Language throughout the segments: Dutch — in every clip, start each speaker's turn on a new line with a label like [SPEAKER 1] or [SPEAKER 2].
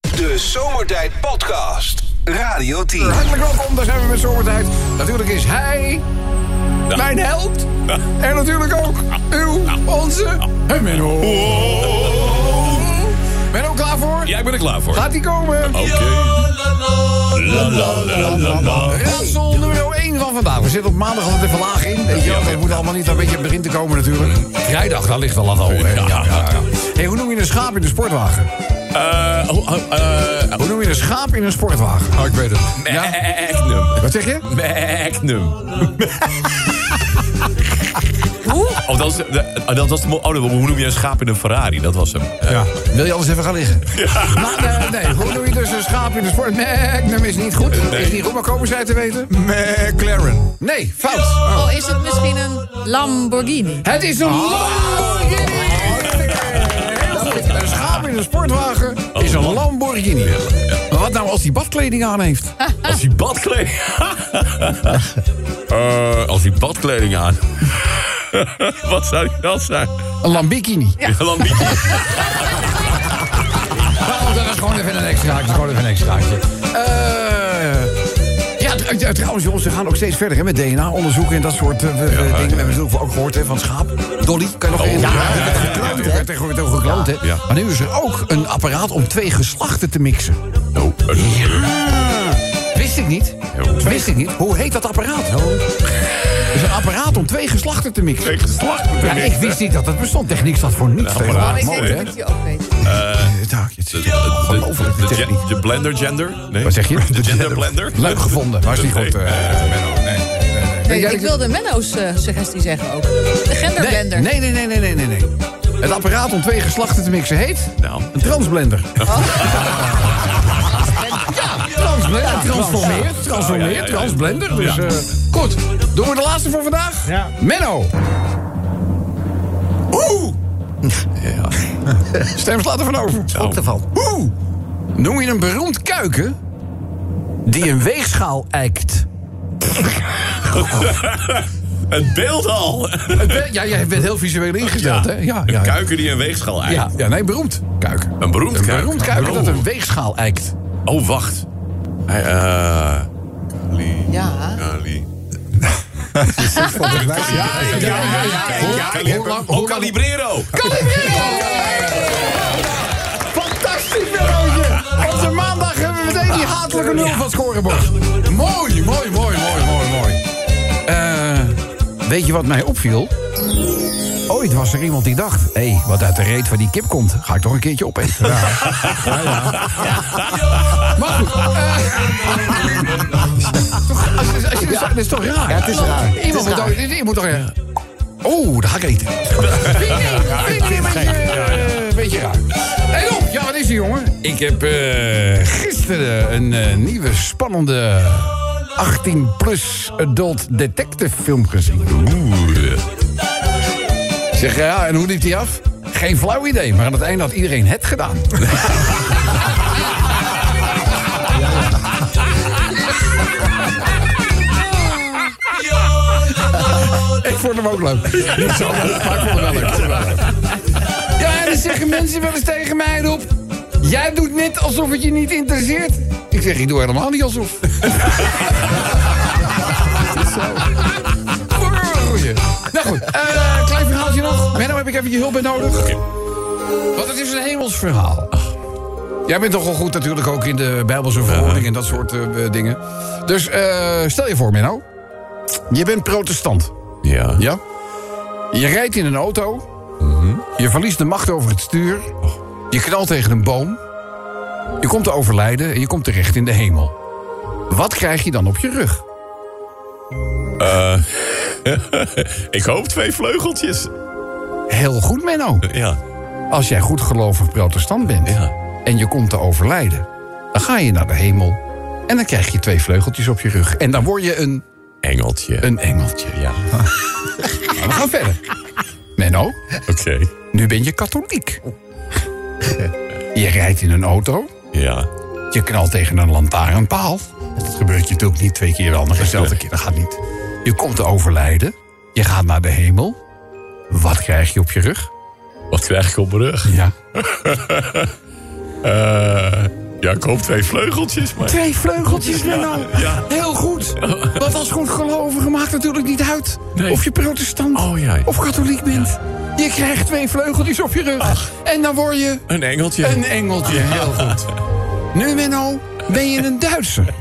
[SPEAKER 1] De Zomertijd Podcast. Radio 10.
[SPEAKER 2] Hartelijk welkom, daar zijn we met zomertijd. Natuurlijk is hij mijn held. En natuurlijk ook uw, onze, en Menno. Menno, klaar voor?
[SPEAKER 3] Ja, ik ben er klaar voor.
[SPEAKER 2] Gaat hij komen?
[SPEAKER 3] Oké. La, la, la, la, la.
[SPEAKER 2] Raadsel nummer 1 van vandaag. We zitten op maandag altijd even laag in. Weet je wel, het moet allemaal niet een beetje begin te komen natuurlijk. Vrijdag, daar ligt wel af al. hè? Ja, ja, ja. Hey, hoe noem je een schaap in een sportwagen?
[SPEAKER 3] Eh, oh, oh, eh,
[SPEAKER 2] Hoe noem je een schaap in een sportwagen? Oh, ik weet het. Ja?
[SPEAKER 3] Magnum.
[SPEAKER 2] Wat zeg je?
[SPEAKER 3] Magnum. Oh, dat was, de- dat was de, mo- oh, hoe noem je een schaap in een Ferrari? Dat was hem. Eh,
[SPEAKER 2] Ja. Wil je anders even gaan liggen? Maar eh, nee, hoe doe je dus een schaap in de sport? Magnum is niet goed.
[SPEAKER 3] Nee.
[SPEAKER 2] Is niet goed, maar komen zij te weten?
[SPEAKER 3] Eh,
[SPEAKER 2] McLaren. Nee, fout. Oh.
[SPEAKER 4] Oh, is het misschien een Lamborghini?
[SPEAKER 2] Het is een Lamborghini. Heel goed. Een schaap in een sportwagen is een Lamborghini. Maar wat nou als die badkleding aan heeft?
[SPEAKER 3] Als hij badkleding... Eh, als hij badkleding aan... Wat zou die dat zijn?
[SPEAKER 2] Een Lambikini.
[SPEAKER 3] Lambiek.
[SPEAKER 2] Oh, dat is gewoon even een extraatje. Gewoon even een extraatje. Eh, ja, tr- tr- trouwens, jongens, we gaan ook steeds verder hè, met DNA-onderzoeken en dat soort eh, we- we dingen. We hebben natuurlijk ook gehoord hè, van schaap. Dolly, kan je nog één?
[SPEAKER 3] Oh, ja, ja,
[SPEAKER 2] Er werd gekloond, hè? Er werd Tegenwoordig ook gekloond, hè?
[SPEAKER 3] Ja.
[SPEAKER 2] Maar nu is er ook een apparaat om twee geslachten te mixen.
[SPEAKER 3] Oh, dat is-
[SPEAKER 2] Wist ik niet. Wist ik niet. Hoe heet dat apparaat? Het is een apparaat om twee geslachten te mixen.
[SPEAKER 3] Tegen geslacht
[SPEAKER 2] Ja, ik wist niet dat dat bestond. Techniek staat voor niets.
[SPEAKER 3] apparaat.
[SPEAKER 2] tegenwoordig.
[SPEAKER 4] Maar Oh,
[SPEAKER 2] Mooi, hè?
[SPEAKER 4] ik denk dat ik die ook weet.
[SPEAKER 2] Eh, daar, het
[SPEAKER 3] De,
[SPEAKER 2] is ongelooflijk, die
[SPEAKER 3] de- de-
[SPEAKER 2] techniek.
[SPEAKER 3] de blender gender? Nee.
[SPEAKER 2] Wat zeg je?
[SPEAKER 3] De gender blender?
[SPEAKER 2] Leuk gevonden, maar is niet goed. eh, Menno. Nee, nee, nee, nee.
[SPEAKER 4] Nee,
[SPEAKER 2] Jij-
[SPEAKER 4] ik wilde Menno's eh, suggestie zeggen ook. De
[SPEAKER 2] nee,
[SPEAKER 4] genderblender.
[SPEAKER 2] nee, nee, nee, nee, nee, nee, nee. Het apparaat om twee geslachten te mixen heet?
[SPEAKER 3] Nou. Oh.
[SPEAKER 2] Een transblender. Ja, transblender. Ja, transformeert, transformeert,
[SPEAKER 3] ja, ja.
[SPEAKER 2] transblender. Dus,
[SPEAKER 3] Ja.
[SPEAKER 2] eh, goed, doen we de laatste voor vandaag?
[SPEAKER 5] Ja.
[SPEAKER 2] Menno. Oeh. Stem slaat ervan over.
[SPEAKER 3] Schrok ervan.
[SPEAKER 2] Oeh. Noem je een beroemd kuiken die een weegschaal eikt?
[SPEAKER 3] Het beeld al!
[SPEAKER 2] Ja, jij bent heel visueel ingesteld, hè? Ja,
[SPEAKER 3] Een
[SPEAKER 2] ja, ja.
[SPEAKER 3] kuiken die een weegschaal eikt.
[SPEAKER 2] Ja, ja, nee, beroemd kuiken.
[SPEAKER 3] Een beroemd
[SPEAKER 2] Een
[SPEAKER 3] kuiken.
[SPEAKER 2] beroemd kuiken dat een weegschaal eikt.
[SPEAKER 3] Oh, wacht. Hij, eh... Kali.
[SPEAKER 4] Ja.
[SPEAKER 3] Kali.
[SPEAKER 2] Ja, ja, ja. Hoe lang-
[SPEAKER 3] Oh,
[SPEAKER 2] hoe lang-
[SPEAKER 3] Calibrero!
[SPEAKER 2] Fantastisch, Verootje. Onze maandag hebben we meteen die hatelijke nul van het scorebord. Mooi, mooi, mooi, mooi, mooi, mooi. Eh, weet je wat mij opviel? Ooit was er iemand die dacht... hé, hey, wat uit de reet van die kip komt... ga ik toch een keertje opeten. Ja, ja. Maar goed. eh, toch, als je- als je- Dat is toch raar? het is raar. Iemand moet toch... Je moet toch eh, Oh, daar ga ik eten. Vind je een beetje, eh, beetje raar. En op, ja, wat is die jongen? Ik heb eh, gisteren een eh, nieuwe spannende 18-plus adult detective film gezien. Ik Zeg, ja, en hoe liep die af? Geen flauw idee, maar aan het einde had iedereen het gedaan. Ik vond hem ook leuk. Niet zo leuk, maar ik vond hem wel leuk. Ik vond hem wel leuk. Ja, en dan zeggen mensen wel eens tegen mij op. Jij doet net alsof het je niet interesseert. Ik zeg, ik doe helemaal niet alsof. Goeie. Nou goed, eh, klein verhaaltje nog. Menno, heb ik even je hulp bij nodig? Want het is een hemels verhaal. Jij bent toch wel goed natuurlijk ook in de Bijbelse verhoording en dat soort eh, dingen. Dus eh, stel je voor, Menno. Je bent protestant.
[SPEAKER 3] Ja.
[SPEAKER 2] Ja? Je rijdt in een auto. Je verliest de macht over het stuur. Je knalt tegen een boom. Je komt te overlijden en je komt terecht in de hemel. Wat krijg je dan op je rug?
[SPEAKER 3] Ik hoop twee vleugeltjes.
[SPEAKER 2] Heel goed, Menno.
[SPEAKER 3] Ja.
[SPEAKER 2] Als jij goedgelovig protestant bent
[SPEAKER 3] Ja.
[SPEAKER 2] en je komt te overlijden... dan ga je naar de hemel en dan krijg je twee vleugeltjes op je rug. En dan word je een,
[SPEAKER 3] Engeltje.
[SPEAKER 2] een engeltje.
[SPEAKER 3] Ja.
[SPEAKER 2] Maar we gaan verder. Menno,
[SPEAKER 3] Oké.
[SPEAKER 2] nu ben je katholiek. Je rijdt in een auto...
[SPEAKER 3] Ja.
[SPEAKER 2] Je knalt tegen een lantaarnpaal. Dat gebeurt je natuurlijk niet twee keer wel, maar dezelfde keer. Dat gaat niet. Je komt te overlijden. Je gaat naar de hemel. Wat krijg je op je rug?
[SPEAKER 3] Wat krijg ik op mijn rug?
[SPEAKER 2] Ja.
[SPEAKER 3] Eh, Ja, ik hoop twee vleugeltjes, maar...
[SPEAKER 2] Twee vleugeltjes, Menno.
[SPEAKER 3] ja.
[SPEAKER 2] Heel goed. Want als goed gelovige maakt natuurlijk niet uit...
[SPEAKER 3] Nee.
[SPEAKER 2] of je protestant
[SPEAKER 3] Oh, ja.
[SPEAKER 2] of katholiek bent. Je krijgt twee vleugeltjes op je rug. En dan word je
[SPEAKER 3] Een engeltje.
[SPEAKER 2] een engeltje. Heel goed. Nu, Menno, ben je een Duitser.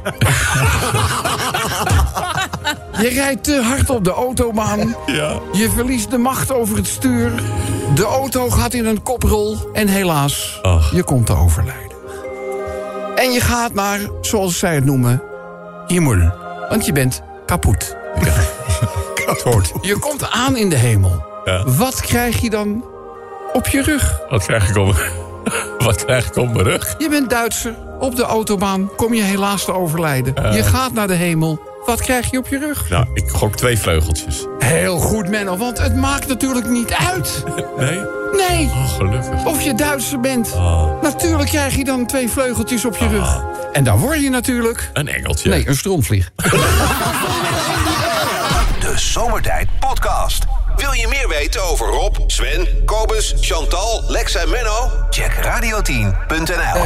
[SPEAKER 2] je rijdt te hard op de autobaan.
[SPEAKER 3] Ja.
[SPEAKER 2] Je verliest de macht over het stuur. De auto gaat in een koprol. En helaas,
[SPEAKER 3] Ach.
[SPEAKER 2] je komt te overlijden. En je gaat naar, zoals zij het noemen, hemel. Want je bent kapot. Je komt aan in de hemel.
[SPEAKER 3] Ja.
[SPEAKER 2] Wat krijg je dan op je rug?
[SPEAKER 3] Wat krijg ik om... Wat krijg ik op mijn rug?
[SPEAKER 2] Je bent Duitser. Op de autobaan kom je helaas te overlijden. Je gaat naar de hemel. Wat krijg je op je rug?
[SPEAKER 3] Nou, ik gok twee vleugeltjes.
[SPEAKER 2] Heel goed, Menno, want het maakt natuurlijk niet uit.
[SPEAKER 3] Nee?
[SPEAKER 2] Nee,
[SPEAKER 3] Oh, gelukkig.
[SPEAKER 2] of je Duitser bent.
[SPEAKER 3] Ah.
[SPEAKER 2] Natuurlijk krijg je dan twee vleugeltjes op je rug. En dan word je natuurlijk...
[SPEAKER 3] Een engeltje.
[SPEAKER 2] Nee, een stroomvlieg.
[SPEAKER 1] De Zomertijd Podcast. Wil je meer weten over Rob, Sven, Kobus, Chantal, Lex en Menno? Check radio10.nl.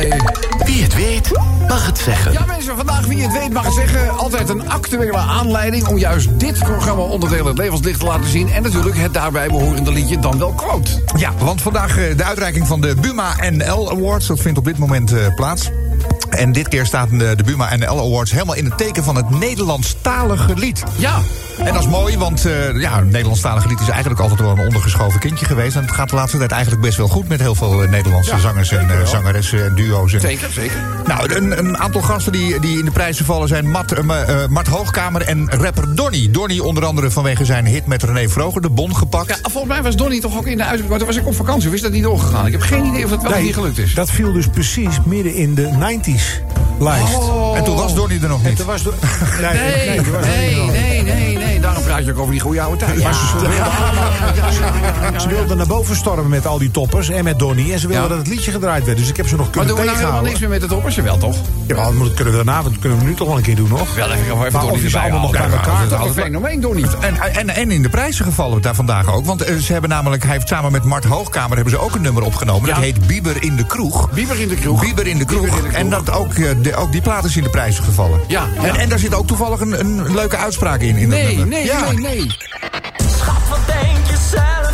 [SPEAKER 5] Wie het weet, mag het zeggen.
[SPEAKER 2] Ja, mensen, vandaag wie het weet mag het zeggen. Altijd een actuele aanleiding om juist dit programma onderdeel het levenslicht te laten zien. En natuurlijk het daarbij behorende liedje dan wel quote.
[SPEAKER 6] Ja, want vandaag eh, de uitreiking van de Buma NL Awards. Dat vindt op dit moment eh, plaats. En dit keer staat de, de Buma NL Awards helemaal in het teken van het Nederlandstalige lied.
[SPEAKER 2] Ja,
[SPEAKER 6] En dat is mooi, want eh ja, het Nederlandstalige lied is eigenlijk altijd wel een ondergeschoven kindje geweest. En het gaat de laatste tijd eigenlijk best wel goed met heel veel eh, Nederlandse
[SPEAKER 2] Ja,
[SPEAKER 6] zangers en eh, zangeressen en duo's. En,
[SPEAKER 2] zeker, zeker.
[SPEAKER 6] nou, een, een aantal gasten die, die in de prijzen vallen zijn Mart, eh, ma- eh, Mart Hoogkamer en rapper Donny. Donny onder andere vanwege zijn hit met René Vroger, de bon gepakt.
[SPEAKER 2] Ja, volgens mij was Donnie toch ook in de uitzending. Maar toen was ik op vakantie, of is dat niet doorgegaan? Ik heb geen idee of dat
[SPEAKER 7] Oh,
[SPEAKER 2] wel of niet gelukt is.
[SPEAKER 7] Dat viel dus precies midden in de 90s lijst.
[SPEAKER 6] En toen was Donny er nog
[SPEAKER 7] En
[SPEAKER 6] niet.
[SPEAKER 7] toen Oh, was door. Nee,
[SPEAKER 2] Nee,
[SPEAKER 7] nee, toen was er
[SPEAKER 2] nee,
[SPEAKER 7] niet nog.
[SPEAKER 2] nee, nee, nee. Daarom praat je ook over die goede oude tijd.
[SPEAKER 7] Maar ze- ze wilden allemaal- ja, ze- Ze wilden naar boven stormen met al die toppers en met Donny. En ze wilden
[SPEAKER 2] Ja.
[SPEAKER 7] dat het liedje gedraaid werd. Dus ik heb ze nog
[SPEAKER 2] Maar
[SPEAKER 7] kunnen
[SPEAKER 2] doen we nou helemaal
[SPEAKER 7] tegenhouden.
[SPEAKER 2] niks meer met het oppersje wel, toch?
[SPEAKER 7] Ja, maar dat moet- kunnen we daarna, dat kunnen we nu toch wel een keer doen, nog?
[SPEAKER 2] Wel even, even
[SPEAKER 7] Maar of je ze allemaal nog bij elkaar...
[SPEAKER 2] Dat is een fenomeen, Donnie.
[SPEAKER 6] En, en, en in de prijzen gevallen daar vandaag ook. Want eh, ze hebben namelijk, hij heeft samen met Mart Hoogkamer hebben ze ook een nummer opgenomen. Dat heet Bieber in de kroeg.
[SPEAKER 2] Bieber in de kroeg.
[SPEAKER 6] Bieber in de kroeg.
[SPEAKER 2] Bieber in de kroeg.
[SPEAKER 6] En dat ook, eh, de, ook die plaat is in de prijzen gevallen.
[SPEAKER 2] Ja, ja.
[SPEAKER 6] En, en daar zit ook toevallig een, een leuke uitspraak in. in dat
[SPEAKER 2] Nee,
[SPEAKER 6] nummer.
[SPEAKER 2] nee,
[SPEAKER 6] Ja.
[SPEAKER 2] nee, nee.
[SPEAKER 8] Schat, wat denk je zelf?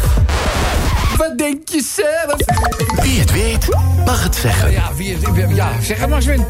[SPEAKER 2] Wat denk je zelf?
[SPEAKER 5] Wie het weet, mag het zeggen.
[SPEAKER 2] Ja, wie het, ja zeg het maar, Sven.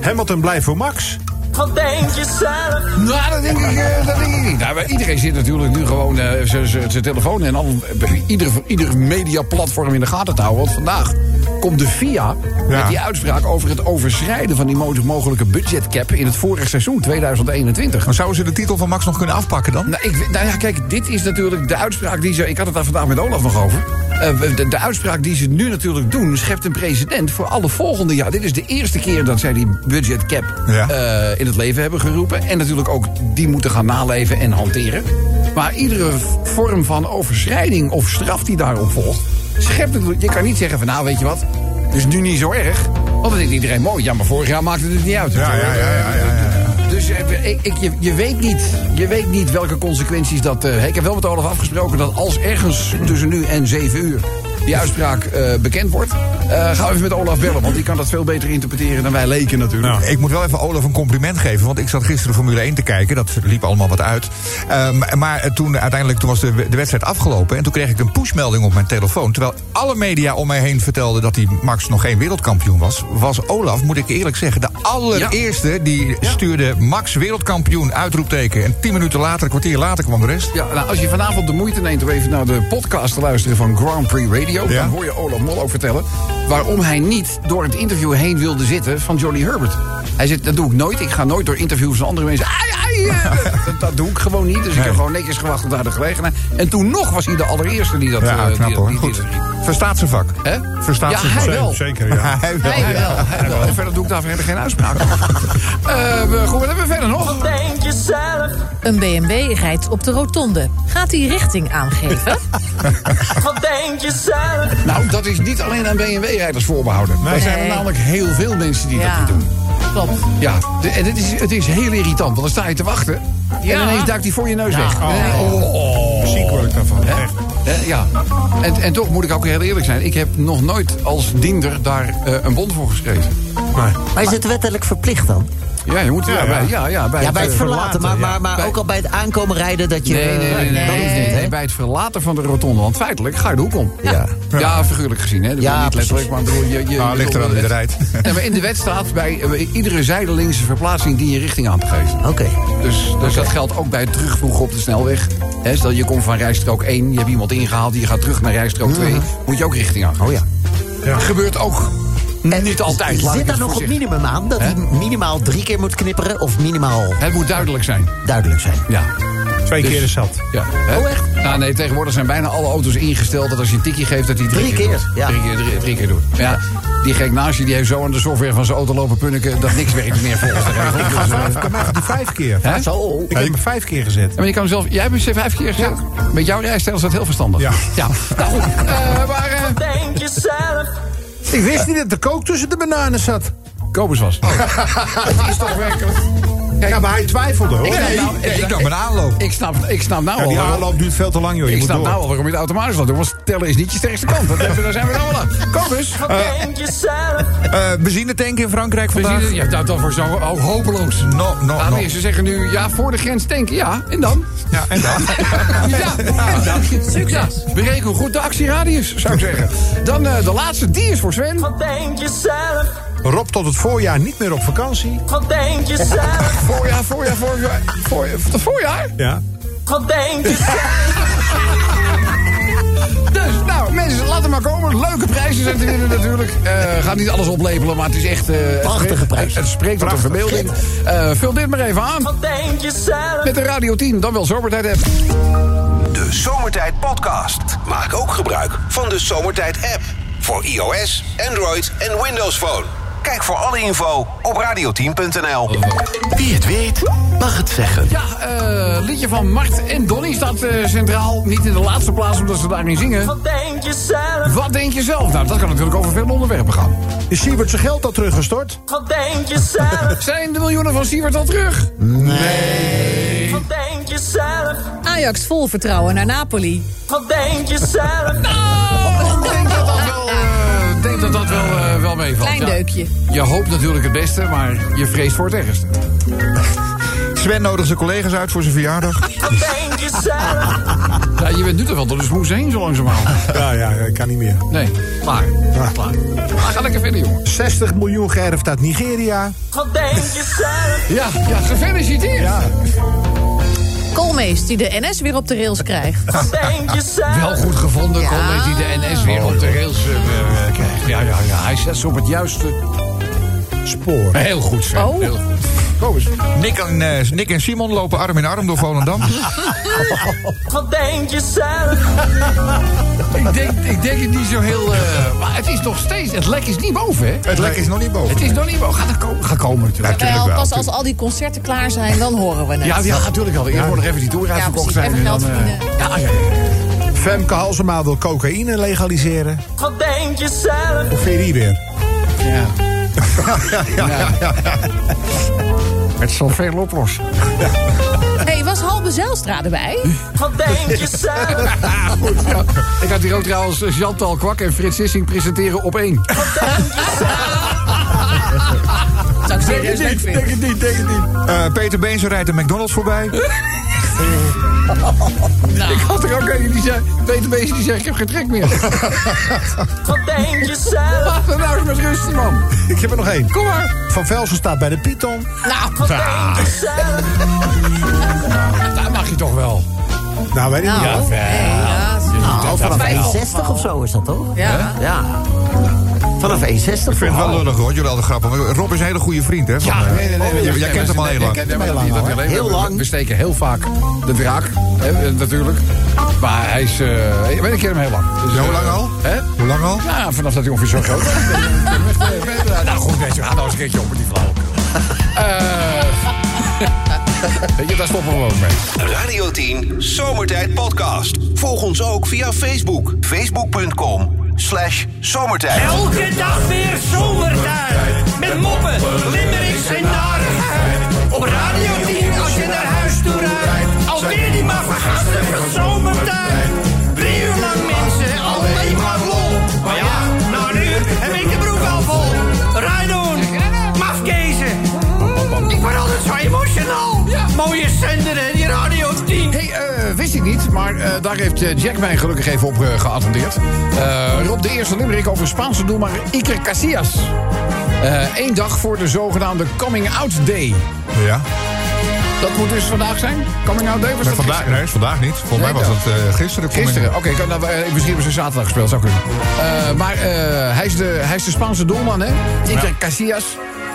[SPEAKER 7] Hamilton blijft voor Max.
[SPEAKER 8] Wat denk je zelf?
[SPEAKER 2] Nou, dat denk ik, eh, dat denk ik niet. Nou, maar iedereen zit natuurlijk nu gewoon eh, zijn telefoon en al, eh, ieder, ieder mediaplatform in de gaten te houden. Want vandaag komt de FIA met
[SPEAKER 6] Ja.
[SPEAKER 2] die uitspraak over het overschrijden van die mo- mogelijke budgetcap in het vorig seizoen 2021.
[SPEAKER 6] Maar zouden ze de titel van Max nog kunnen afpakken dan?
[SPEAKER 2] Nou, ik, weet- nou ja, kijk, dit is natuurlijk de uitspraak die ze. Ik had het daar vandaag met Olaf nog over. Eh, de, de uitspraak die ze nu natuurlijk doen, schept een precedent voor alle volgende jaar. Dit is de eerste keer dat zij die budget cap
[SPEAKER 6] Ja.
[SPEAKER 2] eh, in het leven hebben geroepen. En natuurlijk ook die moeten gaan naleven en hanteren. Maar iedere v- vorm van overschrijding of straf die daarop volgt, schept natuurlijk. Je kan niet zeggen van nou weet je wat, het is nu niet zo erg. Want dan denkt iedereen mooi. Ja, maar vorig jaar maakte het niet uit.
[SPEAKER 6] ja. ja.
[SPEAKER 2] Dus eh, ik, ik- je, je, weet niet, je weet niet welke consequenties dat... eh, ik heb wel met Olaf afgesproken dat als ergens tussen nu en 7 uur... die uitspraak eh, bekend wordt, eh ga even met Olaf bellen. Want die kan dat veel beter interpreteren dan wij leken natuurlijk.
[SPEAKER 6] Ik moet wel even Olaf een compliment geven, want ik zat gisteren Formule 1 te kijken. Dat liep allemaal wat uit. Ehm, maar eh, toen, eh, uiteindelijk toen was de, de wedstrijd afgelopen. En toen kreeg ik een pushmelding op mijn telefoon. Terwijl alle media om mij heen vertelden dat die Max nog geen wereldkampioen was. Was Olaf, moet ik eerlijk zeggen, de allereerste die stuurde Max wereldkampioen uitroepteken. En tien minuten later, een kwartier later kwam de rest.
[SPEAKER 2] Ja, nou, als je vanavond de moeite neemt om even naar de podcast te luisteren van Grand Prix Radio...
[SPEAKER 6] Ja.
[SPEAKER 2] dan hoor je Olaf Mol ook vertellen waarom hij niet door het interview heen wilde zitten van Johnny Herbert. Hij zegt, dat doe ik nooit. Ik ga nooit door interviews van andere mensen... Ai, ai, eh, dat, dat doe ik gewoon niet. Dus ik heb
[SPEAKER 6] Nee.
[SPEAKER 2] gewoon netjes gewacht op daar de gelegenheid. En toen nog was hij de allereerste die dat... eh,
[SPEAKER 6] Ja,
[SPEAKER 2] die-
[SPEAKER 6] knap hoor.
[SPEAKER 2] die- die-
[SPEAKER 6] Goed. Verstaat zijn vak.
[SPEAKER 2] Hè?
[SPEAKER 6] Verstaat
[SPEAKER 2] Ja,
[SPEAKER 6] zijn
[SPEAKER 2] hij
[SPEAKER 6] vak.
[SPEAKER 2] wel.
[SPEAKER 7] Zeker, ja.
[SPEAKER 6] Hij wel.
[SPEAKER 2] Hij wel, hij wel. En verder doe ik daar verder geen uitspraak over. Eh, we- Goed, wat hebben we verder nog?
[SPEAKER 8] Denk je zelf?
[SPEAKER 4] Een BMW rijdt op de rotonde. Gaat hij richting aangeven?
[SPEAKER 8] Wat denk je zelf?
[SPEAKER 2] Nou, dat is niet alleen aan BMW-rijders voorbehouden. Er zijn er
[SPEAKER 4] Nee.
[SPEAKER 2] namelijk heel veel mensen die dat niet doen.
[SPEAKER 4] klopt.
[SPEAKER 2] Ja, de- en het is, het is heel irritant, want dan sta je te wachten.
[SPEAKER 4] Ja.
[SPEAKER 2] En ineens duikt hij voor je neus weg. En
[SPEAKER 4] Ja.
[SPEAKER 2] dan denk je, oh,
[SPEAKER 7] Ziek word ik daarvan.
[SPEAKER 2] Hè?
[SPEAKER 7] Echt.
[SPEAKER 2] Hè, ja. En, en toch moet ik ook heel eerlijk zijn. Ik heb nog nooit als diender daar eh, een bond voor geschreven.
[SPEAKER 9] Maar is het wettelijk verplicht dan?
[SPEAKER 2] Ja, je moet ja, bij, ja, ja, bij,
[SPEAKER 9] Ja, bij het
[SPEAKER 2] eh,
[SPEAKER 9] verlaten, maar, maar, maar
[SPEAKER 2] Bij-
[SPEAKER 9] ook al bij het aankomen rijden dat je...
[SPEAKER 2] Nee,
[SPEAKER 10] eh,
[SPEAKER 2] nee, nee, nee,
[SPEAKER 9] dat hoeft
[SPEAKER 2] nee,
[SPEAKER 9] niet, hè?
[SPEAKER 2] nee, bij het verlaten van de rotonde. Want feitelijk ga je de hoek om.
[SPEAKER 9] Ja.
[SPEAKER 2] ja. figuurlijk gezien. Hè? Dat
[SPEAKER 9] Ja,
[SPEAKER 2] wil niet letterlijk, maar ik bedoel, je, je,
[SPEAKER 6] Nou, ligt eraan wie er rijdt.
[SPEAKER 2] Nee, maar in de wet staat bij eh, iedere zijdelingse verplaatsing die je richting aan te geven.
[SPEAKER 9] Oké.
[SPEAKER 2] Dus, dus dat geldt ook bij het terugvoegen op de snelweg. Hè, stel je komt van rijstrook 1, je hebt iemand ingehaald, je gaat terug naar rijstrook 2. Moet je ook richting aan.
[SPEAKER 9] Oh Mhm. ja.
[SPEAKER 2] Gebeurt ook.
[SPEAKER 9] En
[SPEAKER 2] Niet altijd. laat
[SPEAKER 9] Zit
[SPEAKER 2] ik het
[SPEAKER 9] daar nog een
[SPEAKER 2] voorzichtig-
[SPEAKER 9] minimum aan? Dat hij minimaal drie keer moet knipperen of minimaal
[SPEAKER 2] Het moet duidelijk zijn.
[SPEAKER 9] duidelijk zijn?
[SPEAKER 2] Ja.
[SPEAKER 7] Twee keer is zat.
[SPEAKER 2] ja hè?
[SPEAKER 9] Oh, echt?
[SPEAKER 2] Nou, nee, tegenwoordig zijn bijna alle auto's ingesteld dat als je een tikkie geeft, dat hij drie,
[SPEAKER 9] Drie keer,
[SPEAKER 2] doet.
[SPEAKER 9] ja.
[SPEAKER 2] Drie keer, drie, drie keer doet. Ja. Die gek naast je, die heeft zo aan de software van zijn auto lopen punniken... dat niks werkt meer volgens de regel. Dus, eh,
[SPEAKER 7] Vijf, bij mij gaat die vijf keer.
[SPEAKER 2] hè?
[SPEAKER 9] Zo.
[SPEAKER 7] Ik heb hem vijf keer gezet.
[SPEAKER 2] Ja, maar je kan zelf, jij hebt hem vijf keer gezet. Met jouw rijstijl is dat heel verstandig.
[SPEAKER 7] Ja.
[SPEAKER 2] Nou goed, eh, maar eh,
[SPEAKER 8] Denk jezelf.
[SPEAKER 7] Ik wist niet dat de kook tussen de bananen zat.
[SPEAKER 2] Kobus was. dat is toch werkelijk.
[SPEAKER 7] Ja, maar hij twijfelde hoor.
[SPEAKER 2] snap nou-
[SPEAKER 6] ik dacht mijn aanloop.
[SPEAKER 2] Ik snap, ik snap nou
[SPEAKER 7] Ja,
[SPEAKER 2] al.
[SPEAKER 7] die
[SPEAKER 2] waarom-
[SPEAKER 7] aanloop duurt veel te lang joh. Je
[SPEAKER 2] Ik
[SPEAKER 7] moet
[SPEAKER 2] snap nou
[SPEAKER 7] door.
[SPEAKER 2] al waarom je het automatisch laat doen. Want tellen is niet je sterkste kant. Dat hebben, daar zijn we nou wel aan. Kobus.
[SPEAKER 8] Denk jezelf.
[SPEAKER 6] Eh benzinetank in Frankrijk
[SPEAKER 2] We zien
[SPEAKER 6] vandaag.
[SPEAKER 2] het, dus je hebt dat dan voor zo oh, hopeloos.
[SPEAKER 6] No, no,
[SPEAKER 2] Ah,
[SPEAKER 6] no.
[SPEAKER 2] nee, ze zeggen nu, ja, voor de grens tanken, ja. En dan?
[SPEAKER 6] Ja, en dan?
[SPEAKER 2] Ja, en dan? Succes. Bereken hoe goed de actieradius, zou ik zeggen. Dan eh, de laatste, die is voor Sven.
[SPEAKER 8] Wat denk jezelf.
[SPEAKER 7] Rob tot het voorjaar niet meer op vakantie.
[SPEAKER 8] Wat denk jezelf.
[SPEAKER 2] Voorjaar, voorjaar, voorjaar. Voorjaar? voorjaar?
[SPEAKER 7] Ja.
[SPEAKER 8] Wat denk jezelf.
[SPEAKER 2] Dus, nou, mensen, laat het maar komen. Leuke prijzen zijn te winnen natuurlijk. Eh ga niet alles oplepelen, maar het is echt... eh, het
[SPEAKER 9] Prachtige
[SPEAKER 2] spreekt-
[SPEAKER 9] prijs.
[SPEAKER 2] Het, het spreekt tot de verbeelding. Eh, vul dit maar even aan.
[SPEAKER 8] Wat denk jezelf.
[SPEAKER 2] Met de Radio 10, dan wel zomertijd app.
[SPEAKER 1] De Zomertijd Podcast. Maak ook gebruik van de Zomertijd app. Voor iOS, Android en Windows Phone. Kijk voor alle info op radio10.nl.
[SPEAKER 5] Wie het weet, mag het zeggen.
[SPEAKER 2] Ja, eh, liedje van Mart en Donny staat eh, centraal. Niet in de laatste plaats, omdat ze daarin zingen.
[SPEAKER 8] Wat denk jezelf.
[SPEAKER 2] Wat denk je zelf? Nou, dat kan natuurlijk over veel onderwerpen gaan.
[SPEAKER 7] Is Siebert zijn geld al teruggestort?
[SPEAKER 8] Wat denk jezelf.
[SPEAKER 2] Zijn de miljoenen van Sievert al terug?
[SPEAKER 8] Wat denk jezelf.
[SPEAKER 4] Ajax vol vertrouwen naar Napoli.
[SPEAKER 8] Wat denk jezelf.
[SPEAKER 2] Oh, ik denk dat dat wel, eh, ik denk dat dat wel, eh, wel meevalt.
[SPEAKER 4] Klein
[SPEAKER 2] Ja.
[SPEAKER 4] deukje.
[SPEAKER 2] Je hoopt natuurlijk het beste, maar je vreest voor het ergste.
[SPEAKER 6] Sven nodigt zijn collega's uit voor zijn verjaardag.
[SPEAKER 8] Wat denk jezelf.
[SPEAKER 2] Ja, je bent nu toch wel door de smoes heen zo langzamerhand.
[SPEAKER 7] Ja, ja, ik kan niet meer.
[SPEAKER 2] Nee, klaar. klaar. Maar ga lekker verder, jongen.
[SPEAKER 7] 60 miljoen geërfd uit Nigeria.
[SPEAKER 8] Wat denk jezelf.
[SPEAKER 2] Ja, ja gefeliciteerd.
[SPEAKER 4] Koolmees die de NS weer op de rails krijgt.
[SPEAKER 8] Wat denk
[SPEAKER 2] Wel
[SPEAKER 8] jezelf.
[SPEAKER 2] goed gevonden,
[SPEAKER 4] Ja.
[SPEAKER 2] kon dat hij de NS weer op de rails eh, eh, krijgt. Ja, ja, ja. Hij zet ze op het juiste...
[SPEAKER 7] Spoor.
[SPEAKER 2] Heel goed, Sven.
[SPEAKER 4] Oh.
[SPEAKER 2] Heel goed.
[SPEAKER 6] Nick en, eh, Nick en Simon lopen arm in arm door Volendam.
[SPEAKER 8] Wat denk jezelf.
[SPEAKER 2] Ik denk, ik denk het niet zo heel... eh, maar het is nog steeds... Het lek is niet boven, hè?
[SPEAKER 6] Het lek is nog niet boven.
[SPEAKER 2] Het is nog niet boven. Gaat er komen, gaat komen natuurlijk.
[SPEAKER 4] Wel, Nou pas als al die concerten klaar zijn, dan horen we het.
[SPEAKER 2] Ja, ja, natuurlijk wel. Eerst moet nog even die toer uitverkocht
[SPEAKER 4] precies.
[SPEAKER 2] zijn.
[SPEAKER 4] Even
[SPEAKER 2] en
[SPEAKER 4] geld
[SPEAKER 2] dan, eh,
[SPEAKER 4] verdienen.
[SPEAKER 2] ja, ja, ja.
[SPEAKER 7] Femke Halsema wil cocaïne legaliseren.
[SPEAKER 8] Wat denk jezelf.
[SPEAKER 7] Of weer die weer?
[SPEAKER 2] Ja. Het zal veel oplossen.
[SPEAKER 4] hey, was Halbe Zijlstra erbij?
[SPEAKER 8] Wat denk jezelf.
[SPEAKER 2] Ik had hier ook trouwens eh, Chantal Kwak en Frits Sissing presenteren op één.
[SPEAKER 4] Zou ik zeker eens leuk vinden.
[SPEAKER 2] het niet, denk het niet.
[SPEAKER 6] Eh, Peter Beense rijdt een McDonald's voorbij.
[SPEAKER 2] Ik had er ook een die zei, Peter Bees die zegt, ik heb geen trek meer.
[SPEAKER 8] Wat denk jezelf.
[SPEAKER 2] Laat me nou eens met rust, man.
[SPEAKER 7] Ik heb er nog één.
[SPEAKER 2] Kom maar.
[SPEAKER 7] Van Velsen staat bij de Python.
[SPEAKER 4] Nou,
[SPEAKER 8] Jezelf.
[SPEAKER 2] Dat mag je toch wel.
[SPEAKER 7] Nou, weet ik niet.
[SPEAKER 4] nou. hey, ja,
[SPEAKER 9] Nou, vanaf
[SPEAKER 4] wel.
[SPEAKER 9] 160 of zo is dat toch?
[SPEAKER 4] Ja.
[SPEAKER 9] Ja. Vanaf Oh. 160.
[SPEAKER 6] Ik vind het wel lullig hoor, jullie hadden grappen. Maar Rob is een hele goede vriend, hè? van, eh, jij- jij kent hem al heel lang.
[SPEAKER 9] Heel lang.
[SPEAKER 2] We steken heel vaak de draak, hè, eh, natuurlijk. Maar hij is... eh, ik weet, ik ken hem heel lang. Dus,
[SPEAKER 6] Ja, hoe
[SPEAKER 2] eh,
[SPEAKER 6] lang al?
[SPEAKER 2] Hè?
[SPEAKER 6] Hoe lang al?
[SPEAKER 2] Ja, vanaf dat hij ongeveer zo groot was. nou goed, mensen, ga nou eens een keertje op met die flauwekul. Eh, Weet je, daar stoppen we ook mee.
[SPEAKER 1] Radio 10 Zomertijd Podcast. Volg ons ook via Facebook. Facebook.com slash zomertijd.
[SPEAKER 11] Elke dag weer zomertijd. Met moppen, limericks en narigheid. Op Radio 10 als je naar huis toe rijdt. Alweer die maffe gasten van zomertijd. mooie zender, hè, die Radio 10.
[SPEAKER 2] Hé, hey, eh, wist ik niet, maar eh, daar heeft eh, Jack mij gelukkig even op eh, geattendeerd. Eh, Rob de eerste limerick over Spaanse doelmaker Iker Casillas. Eén dag voor de zogenaamde Coming Out Day.
[SPEAKER 6] Ja.
[SPEAKER 2] Dat moet dus vandaag zijn? Coming Out Day was
[SPEAKER 6] Maar
[SPEAKER 2] dat
[SPEAKER 6] vandaag,
[SPEAKER 2] gisteren?
[SPEAKER 6] nee, is vandaag niet. Volgens
[SPEAKER 2] Nee,
[SPEAKER 6] mij was
[SPEAKER 2] dan.
[SPEAKER 6] het eh, gisteren. kom ik-
[SPEAKER 2] Gisteren, oké, kan- nou, eh, misschien hebben ze zaterdag gespeeld, zou kunnen. Eh, maar eh, hij, is de, hij is de Spaanse doelman, hè? Iker Casillas.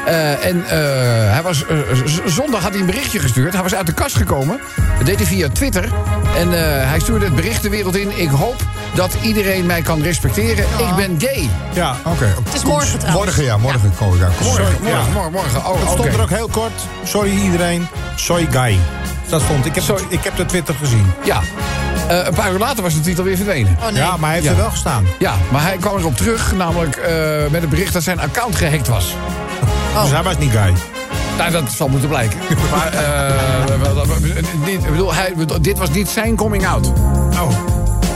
[SPEAKER 2] Eh, en eh, hij was, eh, z- zondag had hij een berichtje gestuurd. Hij was uit de kast gekomen. Dat deed hij via Twitter. En eh, hij stuurde het bericht de wereld in. Ik hoop dat iedereen mij kan respecteren. Ik ben gay.
[SPEAKER 7] Ja.
[SPEAKER 6] Oké.
[SPEAKER 4] Het is morgen trouwens.
[SPEAKER 6] Morgen, ja, morgen kom ik aan. Kom.
[SPEAKER 7] Sorry.
[SPEAKER 2] Morgen,
[SPEAKER 7] Ja.
[SPEAKER 2] morgen, morgen. Oh,
[SPEAKER 7] Het
[SPEAKER 2] oké.
[SPEAKER 7] stond er ook heel kort. Sorry iedereen. Soy guy. Dat stond. Ik heb,
[SPEAKER 2] Soy-
[SPEAKER 7] ik heb de Twitter gezien.
[SPEAKER 2] Ja. Eh, een paar uur later was de titel weer verdwenen.
[SPEAKER 4] Oh nee.
[SPEAKER 7] Ja, maar hij heeft
[SPEAKER 2] Ja.
[SPEAKER 7] er wel gestaan.
[SPEAKER 2] Ja, maar hij kwam erop terug, namelijk eh, met het bericht dat zijn account gehackt was. Oh.
[SPEAKER 7] Dus hij was niet guy.
[SPEAKER 2] Nou, dat zal moeten blijken. Maar, eh, wel, dat- niet- ik bedoel, hij, dit was niet zijn coming out.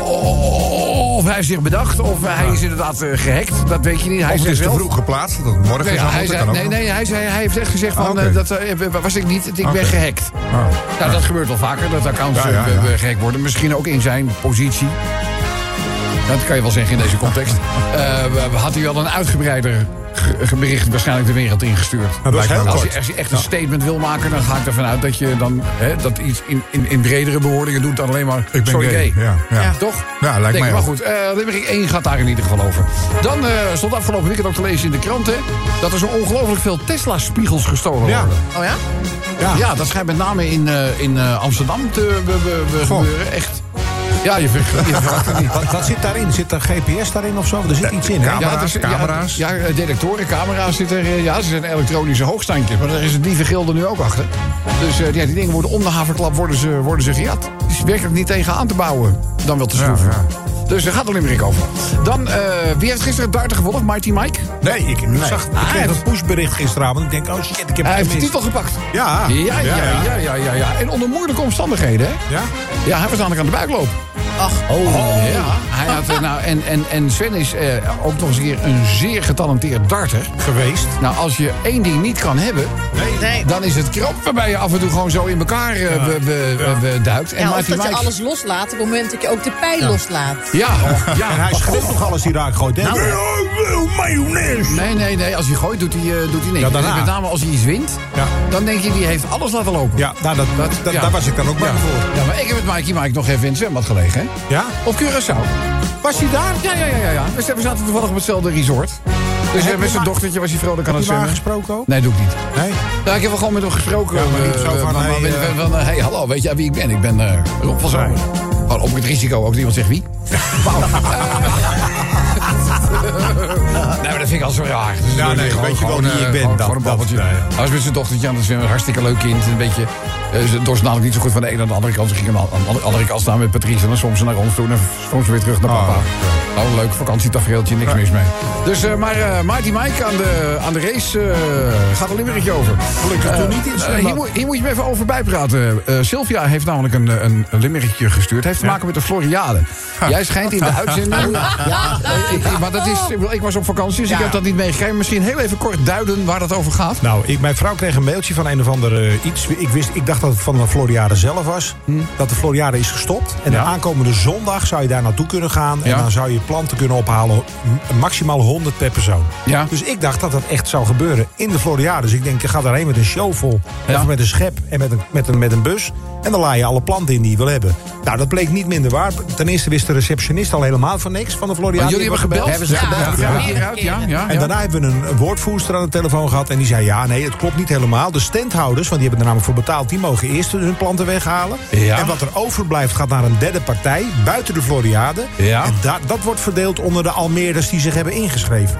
[SPEAKER 2] Oh, Of hij heeft zich bedacht, of hij is inderdaad eh, gehackt. Dat weet je niet. Hij
[SPEAKER 6] Of het
[SPEAKER 2] zegt
[SPEAKER 6] is te
[SPEAKER 2] zelf-
[SPEAKER 6] vroeg geplaatst. dat Morgen
[SPEAKER 2] Nee,
[SPEAKER 6] is
[SPEAKER 2] ja,
[SPEAKER 6] aan
[SPEAKER 2] hij,
[SPEAKER 6] bod,
[SPEAKER 2] zei,
[SPEAKER 6] dat kan ook
[SPEAKER 2] nee,
[SPEAKER 6] nog.
[SPEAKER 2] nee hij, zei, hij heeft echt gezegd: van,
[SPEAKER 6] Ah, oké.
[SPEAKER 2] eh, dat eh, was ik niet, ik ben
[SPEAKER 6] Oké.
[SPEAKER 2] gehackt.
[SPEAKER 6] Ah.
[SPEAKER 7] Oh.
[SPEAKER 2] Nou, dat gebeurt wel vaker, dat accounts
[SPEAKER 6] Ja, ja,
[SPEAKER 2] eh,
[SPEAKER 6] ja.
[SPEAKER 2] gehackt worden. Misschien ook in zijn positie. Dat kan je wel zeggen in deze context. Eh, we- we had hij wel een uitgebreider ge- ge- bericht waarschijnlijk de wereld ingestuurd.
[SPEAKER 7] Dat was
[SPEAKER 6] lijkt me
[SPEAKER 7] heel
[SPEAKER 6] wel.
[SPEAKER 2] Als
[SPEAKER 7] kort.
[SPEAKER 2] je, als je echt een statement wil maken, dan ga ik ervan uit dat je dan hè, dat iets in, in, in bredere bewoordingen doet dan alleen maar.
[SPEAKER 6] ben
[SPEAKER 2] sorry,
[SPEAKER 6] gay. Ja, ja.
[SPEAKER 2] Toch?
[SPEAKER 6] Ja, lijkt
[SPEAKER 2] Denk
[SPEAKER 6] mij
[SPEAKER 2] ik. Maar
[SPEAKER 6] ook.
[SPEAKER 2] goed, eh Limerick 1 gaat daar in ieder geval over. Dan eh, stond afgelopen weekend ook te lezen in de kranten dat er zo ongelooflijk veel Tesla-spiegels gestolen
[SPEAKER 7] Ja.
[SPEAKER 2] worden.
[SPEAKER 4] Oh ja?
[SPEAKER 7] Ja.
[SPEAKER 2] Ja, dat schijnt met name in, eh, in eh, Amsterdam te be- be- be- gebeuren. Echt. Ja, je, ver- je verwacht het niet.
[SPEAKER 7] Wat, wat zit daarin? Zit daar GPS daarin of zo? Er zit iets in, hè?
[SPEAKER 6] Camera's,
[SPEAKER 2] ja, het ja,
[SPEAKER 6] camera's.
[SPEAKER 2] Ja, eh, detectoren, camera's zitten er. eh, Ja, ze zijn elektronische hoogstandjes. Maar daar is het dievengilde nu ook achter. Dus eh, ja, die dingen worden om de haverklap worden ze, worden ze gejat. Het is werkelijk niet tegen aan te bouwen. Dan wel te schroeven. Dus daar gaat er Limerick over. Dan, eh, wie heeft gisteren het darten gevolgd? Mighty Mike?
[SPEAKER 7] Nee, ik, ik zag ik kreeg een pushbericht gisteravond. Ik denk, oh shit, ik
[SPEAKER 2] Hij
[SPEAKER 7] heb het
[SPEAKER 2] heeft de
[SPEAKER 7] gemist.
[SPEAKER 2] titel gepakt.
[SPEAKER 7] Ja.
[SPEAKER 2] Ja, ja, ja, ja, ja, ja. En onder moeilijke omstandigheden, hè?
[SPEAKER 7] Ja?
[SPEAKER 2] Ja, hij was namelijk aan de buikloop. Ach. Oh. Ja. Hij had, eh, nou, en, en, en Sven is eh, ook nog eens een keer een zeer getalenteerd darter.
[SPEAKER 7] Geweest.
[SPEAKER 2] Nou, als je één ding niet kan hebben, dan is het krap waarbij je af en toe gewoon zo in elkaar eh, be- be- be- duikt. En
[SPEAKER 4] Ja, of
[SPEAKER 2] Marty
[SPEAKER 4] Nou, dat je
[SPEAKER 2] Mike-
[SPEAKER 4] alles loslaat op het moment dat je ook de pijl loslaat.
[SPEAKER 2] Ja, ja. Nou.
[SPEAKER 7] En hij schreeuwt toch alles die raak gooit, hè?
[SPEAKER 2] Nee, nee, nee. Als hij gooit, doet hij, eh, doet hij niks.
[SPEAKER 7] Ja, daarna.
[SPEAKER 2] En Met name als hij iets wint,
[SPEAKER 7] Ja.
[SPEAKER 2] dan denk je, die heeft alles laten lopen.
[SPEAKER 7] Ja, nou, dat,
[SPEAKER 2] Dat-
[SPEAKER 7] dat-
[SPEAKER 2] ja.
[SPEAKER 7] daar was ik dan ook bang
[SPEAKER 2] Ja.
[SPEAKER 7] voor.
[SPEAKER 2] Ja, maar ik heb met Mikey Mike nog even in het zwembad gelegen, hè?
[SPEAKER 7] Ja?
[SPEAKER 2] Op Curaçao.
[SPEAKER 7] Was hij daar?
[SPEAKER 2] Ja, ja, ja, ja. ja. We zaten toevallig op hetzelfde resort. Dus eh,
[SPEAKER 7] je
[SPEAKER 2] met zijn
[SPEAKER 7] Ma-
[SPEAKER 2] dochtertje was hij vrolijk aan
[SPEAKER 7] Heb
[SPEAKER 2] het
[SPEAKER 7] je maar
[SPEAKER 2] zwemmen.
[SPEAKER 7] gesproken ook?
[SPEAKER 2] Nee, doe ik niet.
[SPEAKER 7] Nee.
[SPEAKER 2] Nou, ik heb wel gewoon met hem gesproken.
[SPEAKER 7] Ja, maar niet
[SPEAKER 2] eh,
[SPEAKER 7] zo van,
[SPEAKER 2] maar- maar
[SPEAKER 7] hey,
[SPEAKER 2] met-
[SPEAKER 7] eh,
[SPEAKER 2] van, eh, hey, hallo, weet jij wie ik ben? Ik ben eh Rob van Zomer. Oh, op het risico ook dat iemand zegt wie. Wauw. Eh, nee, maar dat vind ik al zo raar. Dus
[SPEAKER 7] Ja,
[SPEAKER 2] dan
[SPEAKER 7] nee,
[SPEAKER 2] gewoon-
[SPEAKER 7] weet je wel
[SPEAKER 2] gewoon,
[SPEAKER 7] wie ik
[SPEAKER 2] eh,
[SPEAKER 7] ben,
[SPEAKER 2] Gewoon,
[SPEAKER 7] dat-
[SPEAKER 2] gewoon een
[SPEAKER 7] dat-
[SPEAKER 2] babbeltje.
[SPEAKER 7] nee.
[SPEAKER 2] Hij was met eh, zijn dochtertje aan het zwemmen. Hartstikke leuk kind. Een beetje... eh, Ze dorst namelijk niet zo goed van de ene naar de andere kant. Ze ging aan de aan de andere kant staan met Patrice. En dan soms naar ons toe. En dan soms weer terug naar papa.
[SPEAKER 7] Ah.
[SPEAKER 2] Nou, een leuk vakantietafereeltje. Niks mis mee. Dus, eh, maar eh Mighty Mike aan de, aan de race eh, gaat een limmeretje over.
[SPEAKER 7] Gelukkig toen niet in het
[SPEAKER 2] Eh,
[SPEAKER 7] zwembad.
[SPEAKER 2] hier, moet, hier moet je me even over bijpraten. Eh Sylvia heeft namelijk een, eh, een, een limmeretje gestuurd. Heeft te maken met de Floriade. Jij schijnt in de uitzending... ja. maar dat is... ik bedoel, Ik was op vakantie, dus ik
[SPEAKER 7] Ja.
[SPEAKER 2] heb dat niet meegekregen. Misschien heel even kort duiden waar dat over gaat.
[SPEAKER 7] Nou, ik, mijn vrouw kreeg een mailtje van een of ander eh, iets. Ik, wist, ik dacht dat het van de Floriade zelf was.
[SPEAKER 2] Hmm.
[SPEAKER 7] Dat de Floriade is gestopt. En de aankomende zondag zou je daar naartoe kunnen gaan.
[SPEAKER 2] Ja.
[SPEAKER 7] En dan zou je planten kunnen ophalen. m- Maximaal 100 per persoon.
[SPEAKER 2] Ja.
[SPEAKER 7] Dus ik dacht dat dat echt zou gebeuren in de Floriade. Dus ik denk, je gaat daarheen met een shovel.
[SPEAKER 2] Ja.
[SPEAKER 7] Of met een schep en met een, met, een, met een bus. En dan laai je alle planten in die je wil hebben. Nou, dat bleek niet minder waar. Ten eerste wist de receptionist al helemaal van niks van de Floriade.
[SPEAKER 2] jullie hebben gebeld?
[SPEAKER 9] Hebben ze
[SPEAKER 2] Ja,
[SPEAKER 9] gebeld?
[SPEAKER 2] ja, hieruit, ja, ja, ja.
[SPEAKER 7] En daarna hebben we een woordvoerster aan de telefoon gehad. En die zei: Ja, nee, het klopt niet helemaal. De standhouders, want die hebben er namelijk voor betaald, die mogen eerst hun planten weghalen.
[SPEAKER 2] Ja.
[SPEAKER 7] En wat er overblijft gaat naar een derde partij buiten de Floriade.
[SPEAKER 2] Ja.
[SPEAKER 7] En da- dat wordt verdeeld onder de Almeerders die zich hebben ingeschreven.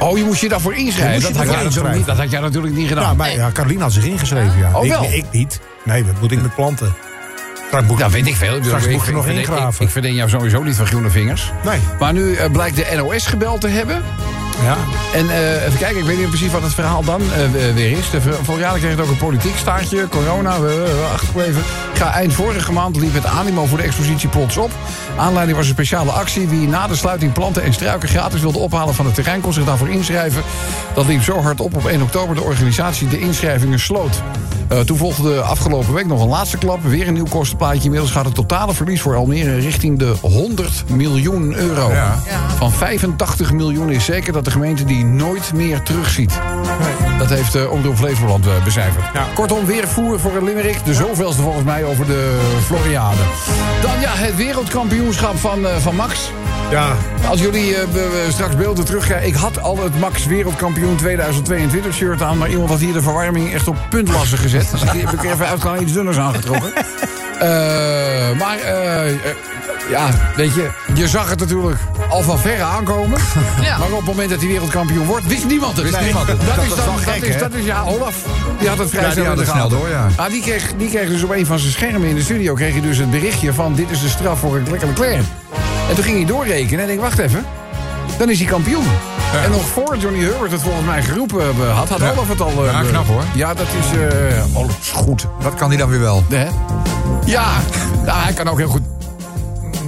[SPEAKER 2] Oh, je moest je daarvoor inschrijven.
[SPEAKER 7] Je moest
[SPEAKER 2] Dat
[SPEAKER 7] je
[SPEAKER 2] had, jij
[SPEAKER 7] daarvoor
[SPEAKER 2] natuurlijk niet,
[SPEAKER 7] inschrijven.
[SPEAKER 2] dat had jij natuurlijk niet
[SPEAKER 7] Nou,
[SPEAKER 2] gedaan.
[SPEAKER 7] maar, ja, Caroline had zich ingeschreven. Ja.
[SPEAKER 2] Oh, wel?
[SPEAKER 7] Ik, ik niet. Nee, wat moet ik met planten? Straks moet ik-
[SPEAKER 2] dat weet ik veel. Ik bedoel,
[SPEAKER 7] Straks
[SPEAKER 2] ik,
[SPEAKER 7] moet je
[SPEAKER 2] ik
[SPEAKER 7] nog
[SPEAKER 2] verdien- ik-
[SPEAKER 7] ingraven.
[SPEAKER 2] Ik verdien jou sowieso niet van groene vingers.
[SPEAKER 7] Nee.
[SPEAKER 2] Maar nu eh, blijkt de NOS gebeld te hebben. Ja. En eh, even kijken, ik weet niet precies wat het verhaal dan eh, weer is. De ver- vorig jaar kreeg het ook een politiek staartje. Corona, eh, achtergebleven. Ga eind vorige maand liep het animo voor de expositie plots op. Aanleiding was een speciale actie. Wie na de sluiting planten en struiken gratis wilde ophalen van het terrein... kon zich daarvoor inschrijven. Dat liep zo hard op op 1 oktober de organisatie de inschrijvingen sloot. Eh, toen volgde afgelopen week nog een laatste klap. Weer een nieuw kostenplaatje. Inmiddels gaat het totale verlies voor Almere richting de 100 miljoen euro.
[SPEAKER 6] Ja.
[SPEAKER 2] Van 85 miljoen is zeker dat de gemeente die nooit meer terugziet. Dat heeft eh Omroep Flevoland eh, becijferd. Kortom, weer voer voor een Limerick. De zoveelste volgens mij over de Floriade. Dan ja, het wereldkampioenschap van, eh, van Max.
[SPEAKER 7] Ja,
[SPEAKER 2] Als jullie eh, be- be- straks beelden terugkrijgen... Ik had al het Max Wereldkampioen 2022 shirt aan... maar iemand had hier de verwarming echt op puntlassen gezet. Dus die heb ik even uitgaan iets dunners aangetrokken. Eh, maar, eh, eh, ja, weet je... Je zag het natuurlijk al van verre aankomen. Maar op het moment dat hij wereldkampioen wordt... wist niemand het.
[SPEAKER 6] Wist niemand het.
[SPEAKER 2] Dat,
[SPEAKER 6] Dat
[SPEAKER 2] is
[SPEAKER 6] was
[SPEAKER 2] dan,
[SPEAKER 6] wel
[SPEAKER 2] dat,
[SPEAKER 6] gek,
[SPEAKER 2] is,
[SPEAKER 6] hè?
[SPEAKER 2] dat is, ja, Olaf. Die had het vrij
[SPEAKER 6] Ja, die
[SPEAKER 2] snel in
[SPEAKER 6] had
[SPEAKER 2] de
[SPEAKER 6] het snel
[SPEAKER 2] gaten.
[SPEAKER 6] door, ja.
[SPEAKER 2] Ah, die, kreeg, die kreeg dus op een van zijn schermen in de studio kreeg je dus het berichtje van dit is de straf voor een Leclerc. En toen ging hij doorrekenen en ik wacht even, dan is hij kampioen. En nog voor Johnny Herbert het volgens mij geroepen eh, had, had
[SPEAKER 6] Ja.
[SPEAKER 2] Olaf het al. eh,
[SPEAKER 6] Ja,
[SPEAKER 2] be-
[SPEAKER 6] knap, hoor.
[SPEAKER 2] Ja, dat is eh Olaf is goed.
[SPEAKER 6] Dat kan hij dan weer wel.
[SPEAKER 2] Hè? Ja, nou, hij kan ook heel goed.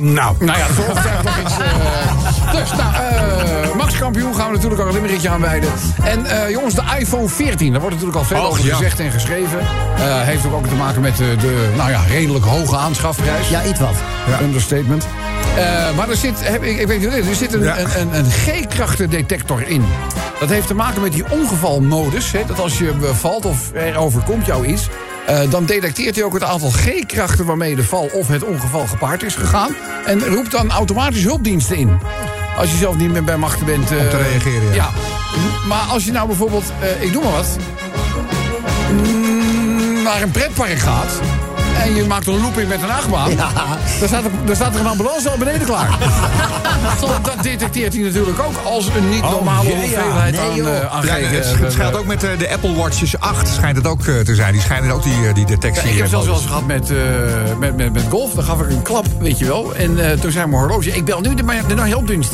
[SPEAKER 7] nou.
[SPEAKER 2] Nou ja, zo ongetwijfeld nog iets. eh. dus nou, eh, Max kampioen gaan we natuurlijk ook een limmeretje aanwijden. En eh, jongens, de iPhone 14, daar wordt natuurlijk al veel
[SPEAKER 6] Och,
[SPEAKER 2] over
[SPEAKER 6] ja.
[SPEAKER 2] gezegd en geschreven. Eh, heeft ook, ook te maken met eh, de nou ja, redelijk hoge aanschafprijs.
[SPEAKER 9] Ja, iets wat.
[SPEAKER 2] Understatement. Eh, maar er zit, heb, ik, ik weet niet, er zit een,
[SPEAKER 6] Ja.
[SPEAKER 2] een, een, een G-krachtendetector in. Dat heeft te maken met die ongevalmodus. Hè, dat als je eh, valt of er overkomt jou iets... eh, dan detecteert hij ook het aantal G-krachten waarmee de val of het ongeval gepaard is gegaan. En roept dan automatisch hulpdiensten in. Als je zelf niet meer bij machten bent... eh,
[SPEAKER 6] te reageren, ja.
[SPEAKER 2] Maar als je nou bijvoorbeeld, eh, ik noem maar wat naar een pretpark gaat. En je maakt een looping met een achtbaan. Dan, staat er, dan staat er een ambulance al beneden klaar. Want dat detecteert hij natuurlijk ook als een niet normale
[SPEAKER 6] jee, ja.
[SPEAKER 2] hoeveelheid
[SPEAKER 9] Nee,
[SPEAKER 2] aan,
[SPEAKER 9] joh.
[SPEAKER 2] eh, aan
[SPEAKER 6] Ja,
[SPEAKER 2] geheel,
[SPEAKER 6] het,
[SPEAKER 2] eh,
[SPEAKER 6] het geldt ook met eh, de Apple Watches 8 schijnt het ook eh, te zijn. Die schijnen ook die, eh, die detectie.
[SPEAKER 2] Ja, ik heb
[SPEAKER 6] eh,
[SPEAKER 2] zelfs wel eens gehad met, eh, met, met, met golf. Dan gaf ik een klap, weet je wel. En eh, toen zei mijn horloge, ik bel nu de, de, de hulpdienst.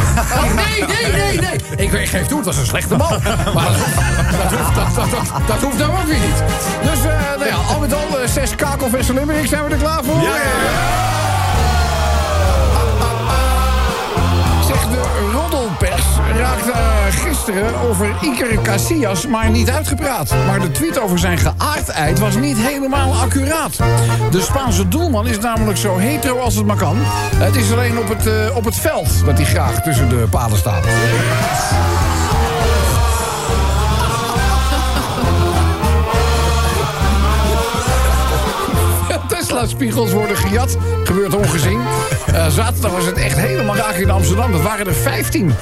[SPEAKER 2] nee, nee, nee, nee. Ik, ik geef toe, het was een slechte bal. Maar dat hoeft, dat, hoeft, dat, dat, dat, dat hoeft nou ook weer niet. Dus eh, nou ja, al met al, eh, zes kakel en Limburg, zijn we er klaar voor? Zeg, de roddelpers raakte eh, gisteren over Iker Casillas maar niet uitgepraat. Maar de tweet over zijn geaardheid was niet helemaal accuraat. De Spaanse doelman is namelijk zo hetero als het maar kan. Het is alleen op het, eh, op het veld dat hij graag tussen de palen staat. Tesla-spiegels worden gejat. Gebeurt ongezien. Eh, zaterdag was het echt helemaal raak in Amsterdam. Dat waren er 15.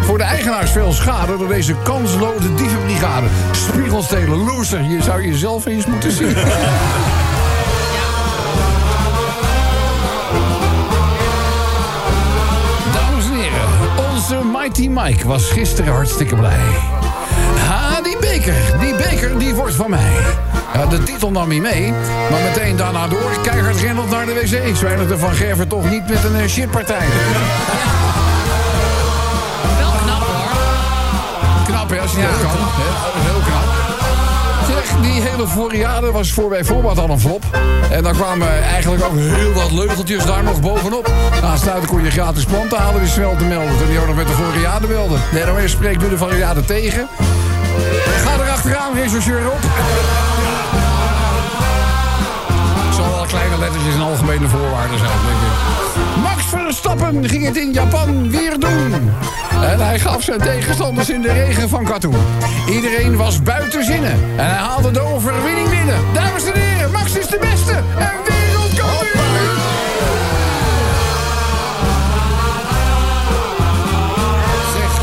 [SPEAKER 2] Voor de eigenaars veel schade door deze kansloze dievenbrigade. Spiegels stelen, loser. Je zou jezelf eens moeten zien. Dames en heren, onze Mighty Mike was gisteren hartstikke blij. Ha, die beker, die beker, die wordt van mij. Ja, de titel nam hij mee, maar meteen daarna door. Keihard rennelt naar de wc. Zwijnigde van Gerven toch niet met een eh, shitpartij.
[SPEAKER 4] Wel knap hoor.
[SPEAKER 2] Knap, hè, als je dat kan. hè. Heel knap. Zeg, die hele Floriade was voor bij voorbaat al een flop. En dan kwamen eigenlijk ook heel wat leugeltjes daar nog bovenop. Na aansluiten kon je gratis planten halen, weer snel te melden. Toen die ook nog met de Floriade belde. De NOS spreekt nu de Floriade tegen. Ga er achteraan, rechercheur op. Het zal wel kleine lettertjes en algemene voorwaarden zijn, denk ik. Max Verstappen ging het in Japan weer doen. En hij gaf zijn tegenstanders in de regen van katoen. Iedereen was buiten zinnen. En hij haalde de overwinning binnen. Dames en heren, Max is de beste. En wereldkampioen. Zeg,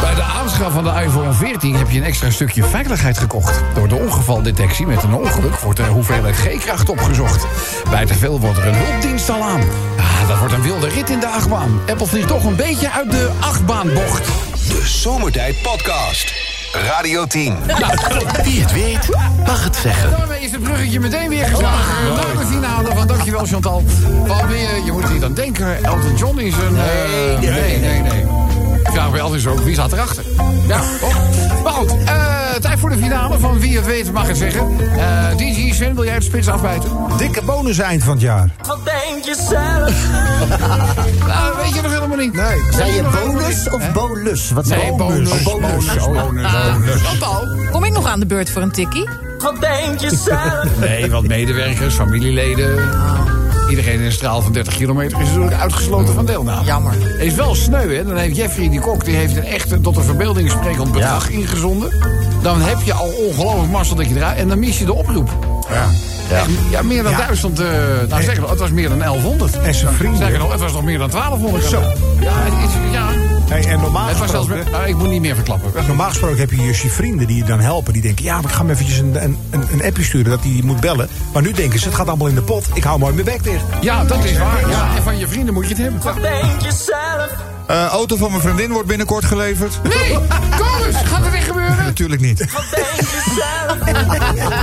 [SPEAKER 2] bij de aanschaf van de iPhone 14 heb je een extra stukje veiligheid gekocht. Door de ongevaldetectie met een ongeluk wordt er hoeveelheid G-kracht opgezocht. Bij te veel wordt er een hulpdienst al aan. Ah, dat wordt een wilde rit in de achtbaan. Apple vliegt toch een beetje uit de achtbaanbocht.
[SPEAKER 1] De Zomertijd Podcast. Radio 10.
[SPEAKER 5] Wie het weet, mag het zeggen.
[SPEAKER 2] Daarmee is het bruggetje meteen weer
[SPEAKER 9] Oh,
[SPEAKER 2] geslagen. Laten we zien houden, want dankjewel Chantal. Want weer, je moet er niet aan denken, Elton John is een... eh, nee, nee, nee. KWL is ook, wie zat erachter? Ja, toch? Maar goed, eh, tijd voor de finale van Wie het weet mag het zeggen. Eh, DJ Sven, wil jij het spits afbijten?
[SPEAKER 7] Dikke bonus eind van het jaar.
[SPEAKER 8] Wat denk je zelf?
[SPEAKER 2] Nou, weet je nog helemaal niet. Nee.
[SPEAKER 9] Zijn je bonus of bolus? Wat
[SPEAKER 2] Nee,
[SPEAKER 9] zijn
[SPEAKER 2] bonus.
[SPEAKER 9] Oh, bonus.
[SPEAKER 2] Bonus, oh,
[SPEAKER 9] Ah.
[SPEAKER 2] Dat al.
[SPEAKER 4] Kom ik nog aan de beurt voor een tikkie?
[SPEAKER 8] Wat denk je zelf?
[SPEAKER 2] Nee, want medewerkers, familieleden... Iedereen in een straal van 30 kilometer is natuurlijk uitgesloten van deelname.
[SPEAKER 4] Jammer.
[SPEAKER 2] Is wel sneu, hè? Dan heeft Jeffrey die kok die heeft een echt een tot de verbeelding sprekend bedrag ingezonden. Dan heb je al ongelooflijk mazzel dat je eruit... En dan mis je de oproep. Ja. Ja, meer dan
[SPEAKER 7] Ja.
[SPEAKER 2] duizend... eh, nou, zeg maar, het was meer dan 1100.
[SPEAKER 7] En zijn vrienden.
[SPEAKER 2] Zeg nog, het was nog meer dan 1200.
[SPEAKER 7] Zo.
[SPEAKER 2] Ja, het, is- ja.
[SPEAKER 7] Hey, en normaal
[SPEAKER 2] het was zelfs...
[SPEAKER 7] gesproken,
[SPEAKER 2] met- Nou, ik moet niet meer verklappen.
[SPEAKER 7] normaal gesproken heb je dus je vrienden die je dan helpen. Die denken, ja, maar ik ga hem eventjes een, een, een een appje sturen dat hij moet bellen. Maar nu denken ze, het gaat allemaal in de pot. Ik hou mooi mijn bek dicht.
[SPEAKER 2] Ja, dat is waar. Ja. En van je vrienden moet je het hebben.
[SPEAKER 8] Wat denk je zelf?
[SPEAKER 6] Eh, auto van mijn vriendin wordt binnenkort geleverd.
[SPEAKER 2] Nee, kom eens. Gaat er weer gebeuren?
[SPEAKER 6] Natuurlijk niet.
[SPEAKER 8] Wat denk je zelf?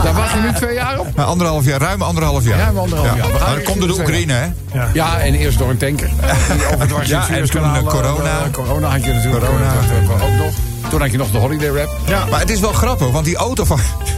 [SPEAKER 2] Daar wacht je nu twee jaar op.
[SPEAKER 6] Maar anderhalf jaar, ruim anderhalf jaar.
[SPEAKER 2] Ruim anderhalf jaar. We gaan
[SPEAKER 6] Maar dat
[SPEAKER 2] weer
[SPEAKER 6] komt door de
[SPEAKER 2] zitten
[SPEAKER 6] Oekraïne, hè?
[SPEAKER 2] Ja, en eerst door een tanker. Die overdwars
[SPEAKER 6] Ja,
[SPEAKER 2] in het
[SPEAKER 6] en
[SPEAKER 2] Suezkanaal,
[SPEAKER 6] toen, eh,
[SPEAKER 2] eh,
[SPEAKER 6] corona.
[SPEAKER 2] eh, corona had je natuurlijk
[SPEAKER 6] Corona.
[SPEAKER 2] eh, ook nog. Toen had je nog de holiday rap.
[SPEAKER 6] Maar het is wel grappig, want die auto van.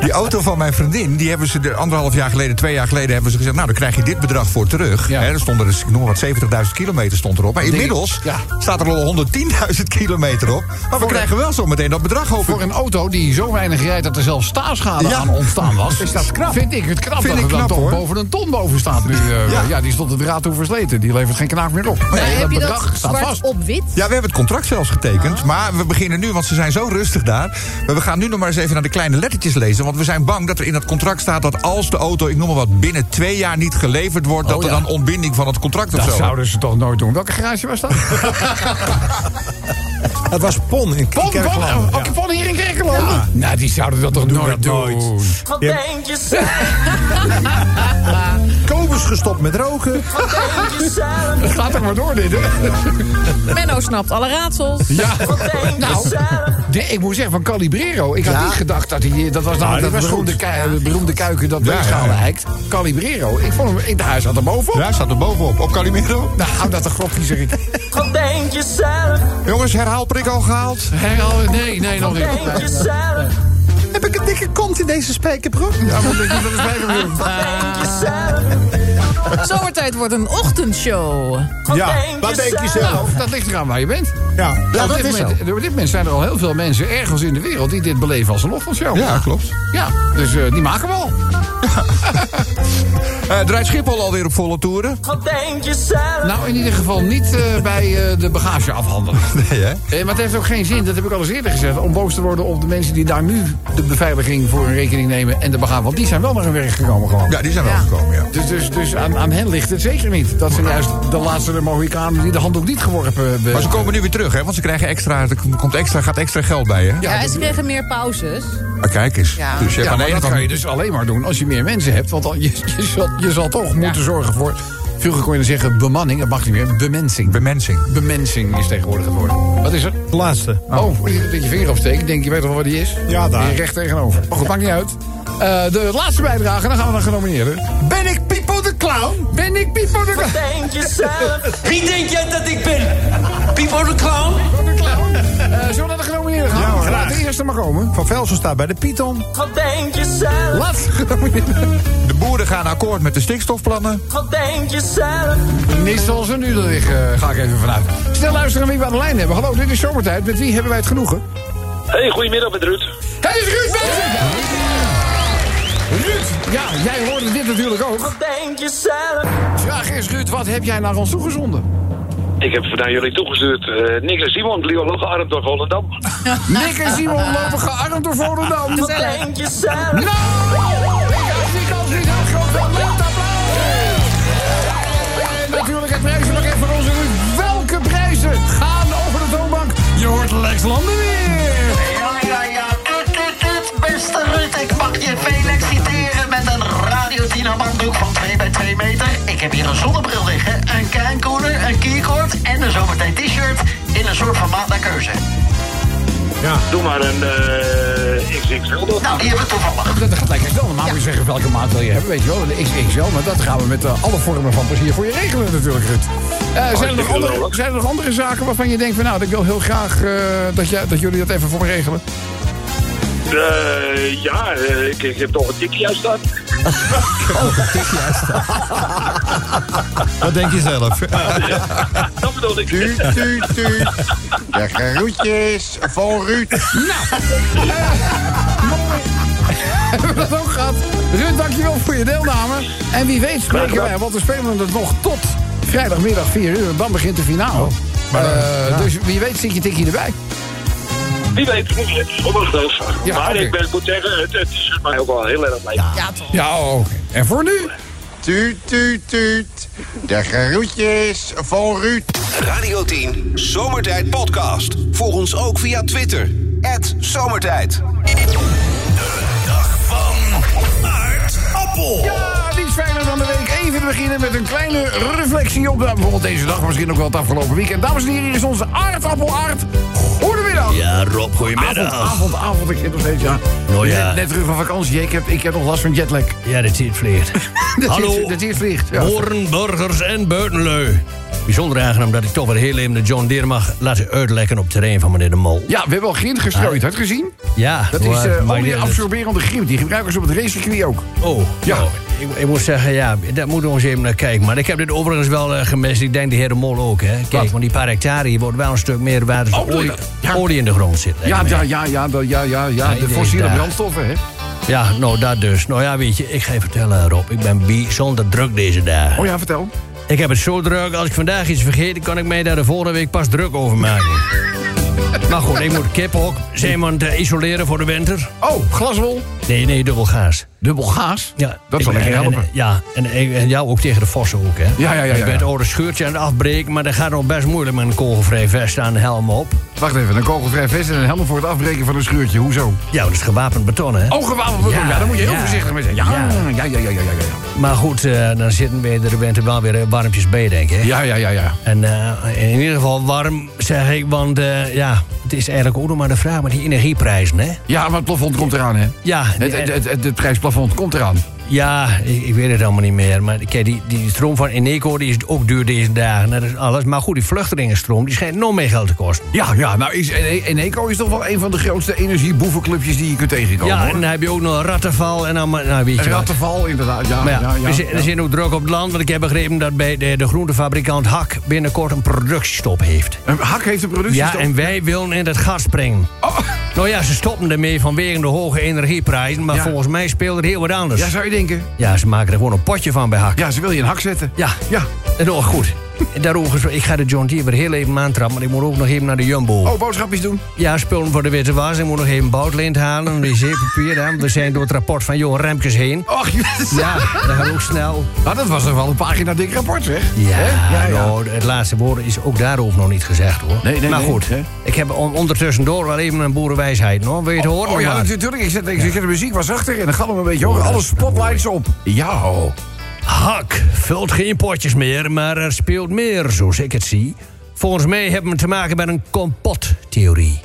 [SPEAKER 6] Die auto van mijn vriendin, die hebben ze er anderhalf jaar geleden, twee jaar geleden, hebben ze gezegd: Nou, dan krijg je dit bedrag voor terug.
[SPEAKER 2] Ja.
[SPEAKER 6] Hè, er stonden dus, ik noem maar wat, 70.000 kilometer stond erop. Maar inmiddels
[SPEAKER 2] Ja.
[SPEAKER 6] staat er al 110.000 kilometer op. Maar we krijgen wel zometeen dat bedrag over.
[SPEAKER 2] Voor een auto die zo weinig rijdt dat er zelfs staarschade
[SPEAKER 6] Ja.
[SPEAKER 2] aan ontstaan was. Is dat
[SPEAKER 6] knap?
[SPEAKER 2] Vind ik het knap
[SPEAKER 6] Vind
[SPEAKER 2] dat
[SPEAKER 6] ik
[SPEAKER 2] er dan
[SPEAKER 6] knap,
[SPEAKER 2] toch
[SPEAKER 6] hoor.
[SPEAKER 2] boven een ton boven staat nu. eh, ja.
[SPEAKER 6] Ja.
[SPEAKER 2] die stond er draad toe versleten. Die levert geen knaak meer op. Nee,
[SPEAKER 4] Maar heb je dat
[SPEAKER 2] staat
[SPEAKER 4] zwart
[SPEAKER 2] vast.
[SPEAKER 4] op wit?
[SPEAKER 6] Ja, we hebben het contract zelfs
[SPEAKER 2] Oh.
[SPEAKER 6] getekend. Maar we beginnen nu, want ze zijn zo rustig daar. Maar we gaan nu nog maar eens even naar de kleine lettertjes lezen. Want we zijn bang dat er in dat contract staat dat als de auto, ik noem maar wat, binnen twee jaar niet geleverd wordt, dat er dan ontbinding van het contract of
[SPEAKER 2] Oh Dat
[SPEAKER 6] zo.
[SPEAKER 2] zouden ze toch nooit doen. Welke garage was dat?
[SPEAKER 7] Het was Pon in
[SPEAKER 2] Pon, pon,
[SPEAKER 7] Kerkland.
[SPEAKER 2] ook
[SPEAKER 6] Oh,
[SPEAKER 2] Pon hier in Kerkeland. Nou, die zouden dat toch nooit
[SPEAKER 7] dat nooit.
[SPEAKER 2] doen.
[SPEAKER 8] Wat
[SPEAKER 7] Ja.
[SPEAKER 8] denk je zelf?
[SPEAKER 7] Kobus gestopt met roken.
[SPEAKER 8] Wat denk je zelf?
[SPEAKER 2] Het gaat toch maar door dit, hè?
[SPEAKER 4] Menno snapt alle raadsels.
[SPEAKER 2] Ja.
[SPEAKER 8] Wat denk je
[SPEAKER 2] Nou,
[SPEAKER 8] zelf?
[SPEAKER 2] nee, ik moet zeggen, van Calibrero. Ik had
[SPEAKER 9] Ja.
[SPEAKER 2] niet gedacht dat hij... Dat was namelijk
[SPEAKER 7] die
[SPEAKER 2] dat
[SPEAKER 7] was
[SPEAKER 2] beroemde,
[SPEAKER 7] goed.
[SPEAKER 2] kui- eh, beroemde kuiken dat
[SPEAKER 6] Ja,
[SPEAKER 2] weegschaal
[SPEAKER 6] ja, ja.
[SPEAKER 2] eikt. Calibrero. Ik vond hem... Ik, hij zat er bovenop.
[SPEAKER 6] Ja, staat er bovenop. Op Calimero.
[SPEAKER 2] Nou, hou dat de grofje, zeg ik.
[SPEAKER 8] Wat denk je zelf?
[SPEAKER 6] Jongens, herhaalprik al gehaald?
[SPEAKER 2] Hé, oh, nee, nee, nog niet.
[SPEAKER 8] Wat denk je zelf?
[SPEAKER 7] Heb ik een dikke kont in deze spijkerbroek?
[SPEAKER 2] Ja, maar dat is wel eens bijgebleven.
[SPEAKER 8] Denk je zelf?
[SPEAKER 4] Zomertijd wordt een ochtendshow.
[SPEAKER 8] Wat
[SPEAKER 7] Ja,
[SPEAKER 8] denk
[SPEAKER 7] wat denk je zelf?
[SPEAKER 2] Nou, dat ligt eraan waar je bent.
[SPEAKER 7] Ja.
[SPEAKER 2] op, dit moment, op dit moment zijn er al heel veel mensen ergens in de wereld... die dit beleven als een ochtendshow.
[SPEAKER 6] Ja, klopt.
[SPEAKER 2] Ja, dus eh, die maken we al.
[SPEAKER 6] Eh draait Schiphol alweer op volle toeren?
[SPEAKER 8] Wat denk je zelf?
[SPEAKER 2] Nou, in ieder geval niet eh, bij eh, de bagageafhandeling.
[SPEAKER 6] Nee, hè?
[SPEAKER 2] Eh, maar het heeft ook geen zin, dat heb ik al eens eerder gezegd... om boos te worden op de mensen die daar nu de beveiliging voor hun rekening nemen... en de bagage, want die zijn wel naar hun werk gekomen gewoon.
[SPEAKER 6] Ja, die zijn wel gekomen, ja.
[SPEAKER 2] Dus, dus, dus aan, aan hen ligt het zeker niet. Dat zijn juist de laatste de Mohikanen die de handdoek niet geworpen eh, hebben.
[SPEAKER 6] Maar ze komen nu weer terug, hè? Want ze krijgen extra, er komt extra, gaat extra geld bij, hè?
[SPEAKER 4] Ja, en ze kregen meer pauzes.
[SPEAKER 6] Maar kijk eens.
[SPEAKER 4] Ja.
[SPEAKER 6] Dus je hebt
[SPEAKER 2] Ja,
[SPEAKER 6] aan
[SPEAKER 2] maar
[SPEAKER 6] de ene
[SPEAKER 2] dat
[SPEAKER 6] kant...
[SPEAKER 2] kan je dus alleen maar doen als je meer mensen hebt. Want al- je, je, zal, je zal toch moeten zorgen voor... Vroeger kon je dan zeggen bemanning, dat mag niet meer. Bemensing.
[SPEAKER 6] Bemensing.
[SPEAKER 2] Bemensing is tegenwoordig het woord. Wat is er?
[SPEAKER 7] De laatste.
[SPEAKER 2] Oh, dat je je vinger opsteekt. Ik Denk je weet toch wel waar die is?
[SPEAKER 7] Ja, daar.
[SPEAKER 2] Hier recht tegenover. Maar goed, maakt niet uit. Eh, de laatste bijdrage, en dan gaan we naar genomineerden. Ben ik Pipo de Clown? Ben ik Pipo de Clown?
[SPEAKER 8] Wat denk je zelf?
[SPEAKER 11] Wie denk jij dat ik ben? Pipo de Clown?
[SPEAKER 2] De clown. Eh, zullen we naar de genomineerden gaan?
[SPEAKER 7] Ja, hoor.
[SPEAKER 2] Laat de eerste maar komen.
[SPEAKER 7] Van Velsen staat bij de Python.
[SPEAKER 8] Wat denk je zelf?
[SPEAKER 2] Laatste genomineerde.
[SPEAKER 6] De boeren gaan akkoord met de stikstofplannen.
[SPEAKER 8] Wat denk je zelf?
[SPEAKER 2] Niet zoals we nu er liggen, ga ik even vanuit. Snel luisteren wie we aan de lijn hebben. Hallo, dit is Zomertijd. Met wie hebben wij het genoegen?
[SPEAKER 12] Hey, goedemiddag met Ruud.
[SPEAKER 2] Het is Ruud Benson! Ruud, ja, jij hoorde dit natuurlijk ook.
[SPEAKER 8] Wat denk je zelf?
[SPEAKER 2] Vraag is, Ruud, wat heb jij naar ons toegezonden?
[SPEAKER 12] Ik heb naar jullie toegestuurd eh Nick en Simon, bioloog arm door Volendam.
[SPEAKER 2] Nick en Simon lopen gearmd door Volendam.
[SPEAKER 8] Wat denk je zelf?
[SPEAKER 2] Nou! Natuurlijk het prijzenpakket voor onze Ruud. Welke prijzen gaan over de toonbank? Je hoort Lex Landen weer.
[SPEAKER 13] Ja, ja, ja. Tut, tut, tut. Beste Ruud, ik mag je veel exciteren met een Radio 10 handdoek van 2 bij 2 meter. Ik heb hier een zonnebril liggen, een kijkkoeler, een keycord en een zomertijd t-shirt in een soort formaat naar keuze.
[SPEAKER 12] Doe maar een eh XXL dan.
[SPEAKER 13] Nou, die hebben we toevallig.
[SPEAKER 2] Dat gaat lekker snel. Normaal moet je zeggen welke maat wil je hebben, weet je wel. De XXL, maar dat gaan we met eh, alle vormen van plezier voor je regelen natuurlijk, Rut. Eh, zijn, er nog
[SPEAKER 12] Hartstikke
[SPEAKER 2] andere,
[SPEAKER 12] leuk.
[SPEAKER 2] zijn er nog andere zaken waarvan je denkt van... nou, ik wil heel graag eh, dat, jij- dat jullie dat even voor me regelen?
[SPEAKER 12] Eh, ja, eh, ik, ik heb toch een tikkie uitstaan.
[SPEAKER 6] Wat denk je zelf?
[SPEAKER 12] Dat bedoel ik.
[SPEAKER 14] Tuut, tuut, tuut. De groetjes van Ruud.
[SPEAKER 2] Hebben we dat ook gehad? Rut, dankjewel voor je deelname. En wie weet spreken wij, want we spelen het nog tot vrijdagmiddag 4 uur. Dan begint de finale. Eh, Dus wie weet zit je tikkie erbij.
[SPEAKER 12] Wie weet, sommige wel. maar ik ben, moet zeggen, het, het is mij ook wel heel erg leuk. Ja,
[SPEAKER 2] Ja, oké. En voor nu?
[SPEAKER 14] Tuut, tuut, tuut. De groetjes van Ruud.
[SPEAKER 1] Radio 10, Zomertijd Podcast. Volg ons ook via Twitter. Zomertijd.
[SPEAKER 2] Appel! Ja, Nou, niet fijner dan de week. Even te beginnen met een kleine reflectie op nou, bijvoorbeeld deze dag, misschien ook wel het afgelopen weekend. Dames en heren, hier is onze aardappel Aard. Goedemiddag!
[SPEAKER 10] Ja, Rob, goedemiddag.
[SPEAKER 2] Avond, avond, avond. Ik zit nog steeds, ja.
[SPEAKER 10] Nou ja.
[SPEAKER 2] Net, net terug van vakantie. Ik heb, ik heb nog last van jetlag.
[SPEAKER 10] Ja, dit hier vliegt.
[SPEAKER 2] Dat
[SPEAKER 10] Hallo,
[SPEAKER 2] hier- dat hier vliegt, ja.
[SPEAKER 10] boeren, burgers en buitenlui. Bijzonder aangenaam dat ik toch weer heel even de John Deere mag laten uitlekken op het terrein van meneer De Mol.
[SPEAKER 2] Ja, we hebben al grind gestrooid. Had je het gezien?
[SPEAKER 10] Ja,
[SPEAKER 2] Dat is
[SPEAKER 10] maar-
[SPEAKER 2] eh
[SPEAKER 10] maar
[SPEAKER 2] olie
[SPEAKER 10] dit-
[SPEAKER 2] absorberende grind. Die gebruiken ze op het racecircuit ook.
[SPEAKER 10] Oh, ja. ik, ik moet zeggen, ja, daar moeten we eens even naar kijken. Maar ik heb dit overigens wel eh, gemist. Ik denk de heer De Mol ook, hè. Kijk, want die paar hectare hier wordt wel een stuk meer waar dus
[SPEAKER 2] Oh, bedoel je
[SPEAKER 10] olie,
[SPEAKER 2] dat? Ja.
[SPEAKER 10] olie in de grond zit. lijkt
[SPEAKER 2] Ja,
[SPEAKER 10] me.
[SPEAKER 2] ja, ja, ja, ja, ja, ja, ja.
[SPEAKER 10] Nee,
[SPEAKER 2] De
[SPEAKER 10] nee,
[SPEAKER 2] fossiele
[SPEAKER 10] daar.
[SPEAKER 2] brandstoffen, hè.
[SPEAKER 10] Ja, nou dat dus. Nou ja, weet je, ik ga je vertellen Rob. Ik ben bijzonder druk deze dagen.
[SPEAKER 2] Oh ja, vertel.
[SPEAKER 10] Ik heb het zo druk. Als ik vandaag iets vergeet, kan ik mij daar de volgende week pas druk over maken. maar goed, ik moet kiphok zijn want eh, isoleren voor de winter.
[SPEAKER 2] Oh, glaswol?
[SPEAKER 10] Nee, nee, dubbel gaas.
[SPEAKER 2] Dubbel gaas?
[SPEAKER 10] Ja.
[SPEAKER 2] Dat
[SPEAKER 10] ik
[SPEAKER 2] zal
[SPEAKER 10] ben-
[SPEAKER 2] lekker
[SPEAKER 10] en-
[SPEAKER 2] helpen.
[SPEAKER 10] en- ja, en, en- en jou ook tegen de vossen ook, hè?
[SPEAKER 2] Ja, ja, ja, ja,
[SPEAKER 10] Ik ben
[SPEAKER 2] ja.
[SPEAKER 10] het oude scheurtje aan het afbreken, maar dat gaat nog best moeilijk met een kogelvrij vest aan de helm op.
[SPEAKER 2] Wacht even, een kogelvrij vest en een helm voor het afbreken van een schuurtje. Hoezo?
[SPEAKER 10] Ja, dat is gewapend beton, hè?
[SPEAKER 2] Oh, gewapend beton. Ja, daar moet je heel voorzichtig mee zijn. Ja, ja, ja, ja, ja, ja.
[SPEAKER 10] Maar goed, eh, dan zitten we er bent er wel weer eh, warmpjes bij, denk ik.
[SPEAKER 2] Ja, ja, ja, ja.
[SPEAKER 10] En eh, in ieder geval warm, zeg ik, want eh, ja, het is eigenlijk ook nog maar de vraag met die energieprijzen, hè?
[SPEAKER 2] Ja, maar het plafond komt eraan, hè?
[SPEAKER 10] Ja,
[SPEAKER 2] Het, het, het, het- het prijsplafond komt eraan.
[SPEAKER 10] Ja, ik, ik weet het allemaal niet meer. Maar kijk, die, die stroom van Eneco die is ook duur deze dagen. Dat is alles. Maar goed, die vluchtelingenstroom die schijnt nog meer geld te kosten.
[SPEAKER 2] Ja, ja, nou is en- Eneco is toch wel een van de grootste energieboevenclubjes die je kunt tegenkomen.
[SPEAKER 10] ja,
[SPEAKER 2] hoor.
[SPEAKER 10] en dan heb je ook nog Rattenval en allemaal. Nou, weet je wat.
[SPEAKER 2] Rattenval, inderdaad. Ja,
[SPEAKER 10] Maar ja,
[SPEAKER 2] ja, ja,
[SPEAKER 10] we, zi- we
[SPEAKER 2] ja.
[SPEAKER 10] zijn ook druk op het land, want ik heb begrepen dat bij de, de groentefabrikant Hak binnenkort een productiestop heeft.
[SPEAKER 2] Een Hak heeft een productiestop?
[SPEAKER 10] Ja, en wij willen in het gas springen.
[SPEAKER 2] Oh,
[SPEAKER 10] Nou ja, ze stoppen ermee vanwege de hoge energieprijzen, maar
[SPEAKER 2] Ja.
[SPEAKER 10] volgens mij speelt er heel wat anders.
[SPEAKER 2] Ja, zou je denken.
[SPEAKER 10] Ja, ze maken er gewoon een potje van bij Hak.
[SPEAKER 2] Ja, ze wil je een hak zetten.
[SPEAKER 10] Ja,
[SPEAKER 2] ja.
[SPEAKER 10] En ook goed. Daarover, gesproken, ik ga de John Deere weer heel even aantrappen, maar ik moet ook nog even naar de Jumbo.
[SPEAKER 2] Oh, boodschapjes doen.
[SPEAKER 10] Ja, spullen voor de witte was. Ik moet nog even boutlint halen, wc-papier. hè. We zijn door het rapport van Johan Remkes heen.
[SPEAKER 2] Och, yes.
[SPEAKER 10] Ja, dat gaat ook snel.
[SPEAKER 2] Nou, dat was toch wel een pagina dik rapport, zeg.
[SPEAKER 10] Ja,
[SPEAKER 2] Hè? Oh,
[SPEAKER 10] nou, het laatste woord is ook daarover nog niet gezegd, hoor.
[SPEAKER 2] Nee, nee,
[SPEAKER 10] maar
[SPEAKER 2] nee,
[SPEAKER 10] goed,
[SPEAKER 2] hè?
[SPEAKER 10] ik heb on- ondertussen door wel even een boerenwijsheid, hoor. Wil je het horen?
[SPEAKER 2] Oh
[SPEAKER 10] of
[SPEAKER 2] ja,
[SPEAKER 10] wat?
[SPEAKER 2] natuurlijk. Ik zet, ik zet de muziek was achter en dan gaat hem een beetje hoor. Alle spotlights op. Ja, oh.
[SPEAKER 10] Hak vult geen potjes meer, maar er speelt meer, zoals ik het zie. Volgens mij hebben we te maken met een complottheorie.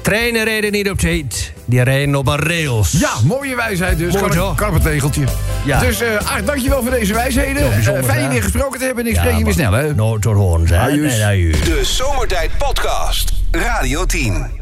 [SPEAKER 10] Treinen rijden niet op tijd, die rijden op een rails.
[SPEAKER 2] Ja, mooie wijsheid dus.
[SPEAKER 10] Mooi,
[SPEAKER 2] Karp-
[SPEAKER 10] toch?
[SPEAKER 2] Karpentegeltje.
[SPEAKER 10] Ja.
[SPEAKER 2] Dus eh Aart, dankjewel voor deze wijsheden.
[SPEAKER 10] Ja, bijzonder,
[SPEAKER 2] Eh, fijn je
[SPEAKER 10] hè?
[SPEAKER 2] weer gesproken te hebben en ik
[SPEAKER 10] Ja,
[SPEAKER 2] spreek je weer
[SPEAKER 10] maar-
[SPEAKER 2] snel, hè?
[SPEAKER 10] Nou, tot horens, hè?
[SPEAKER 2] Ajuus.
[SPEAKER 10] Nee, ajuus.
[SPEAKER 1] De Zomertijd Podcast. Radio 10.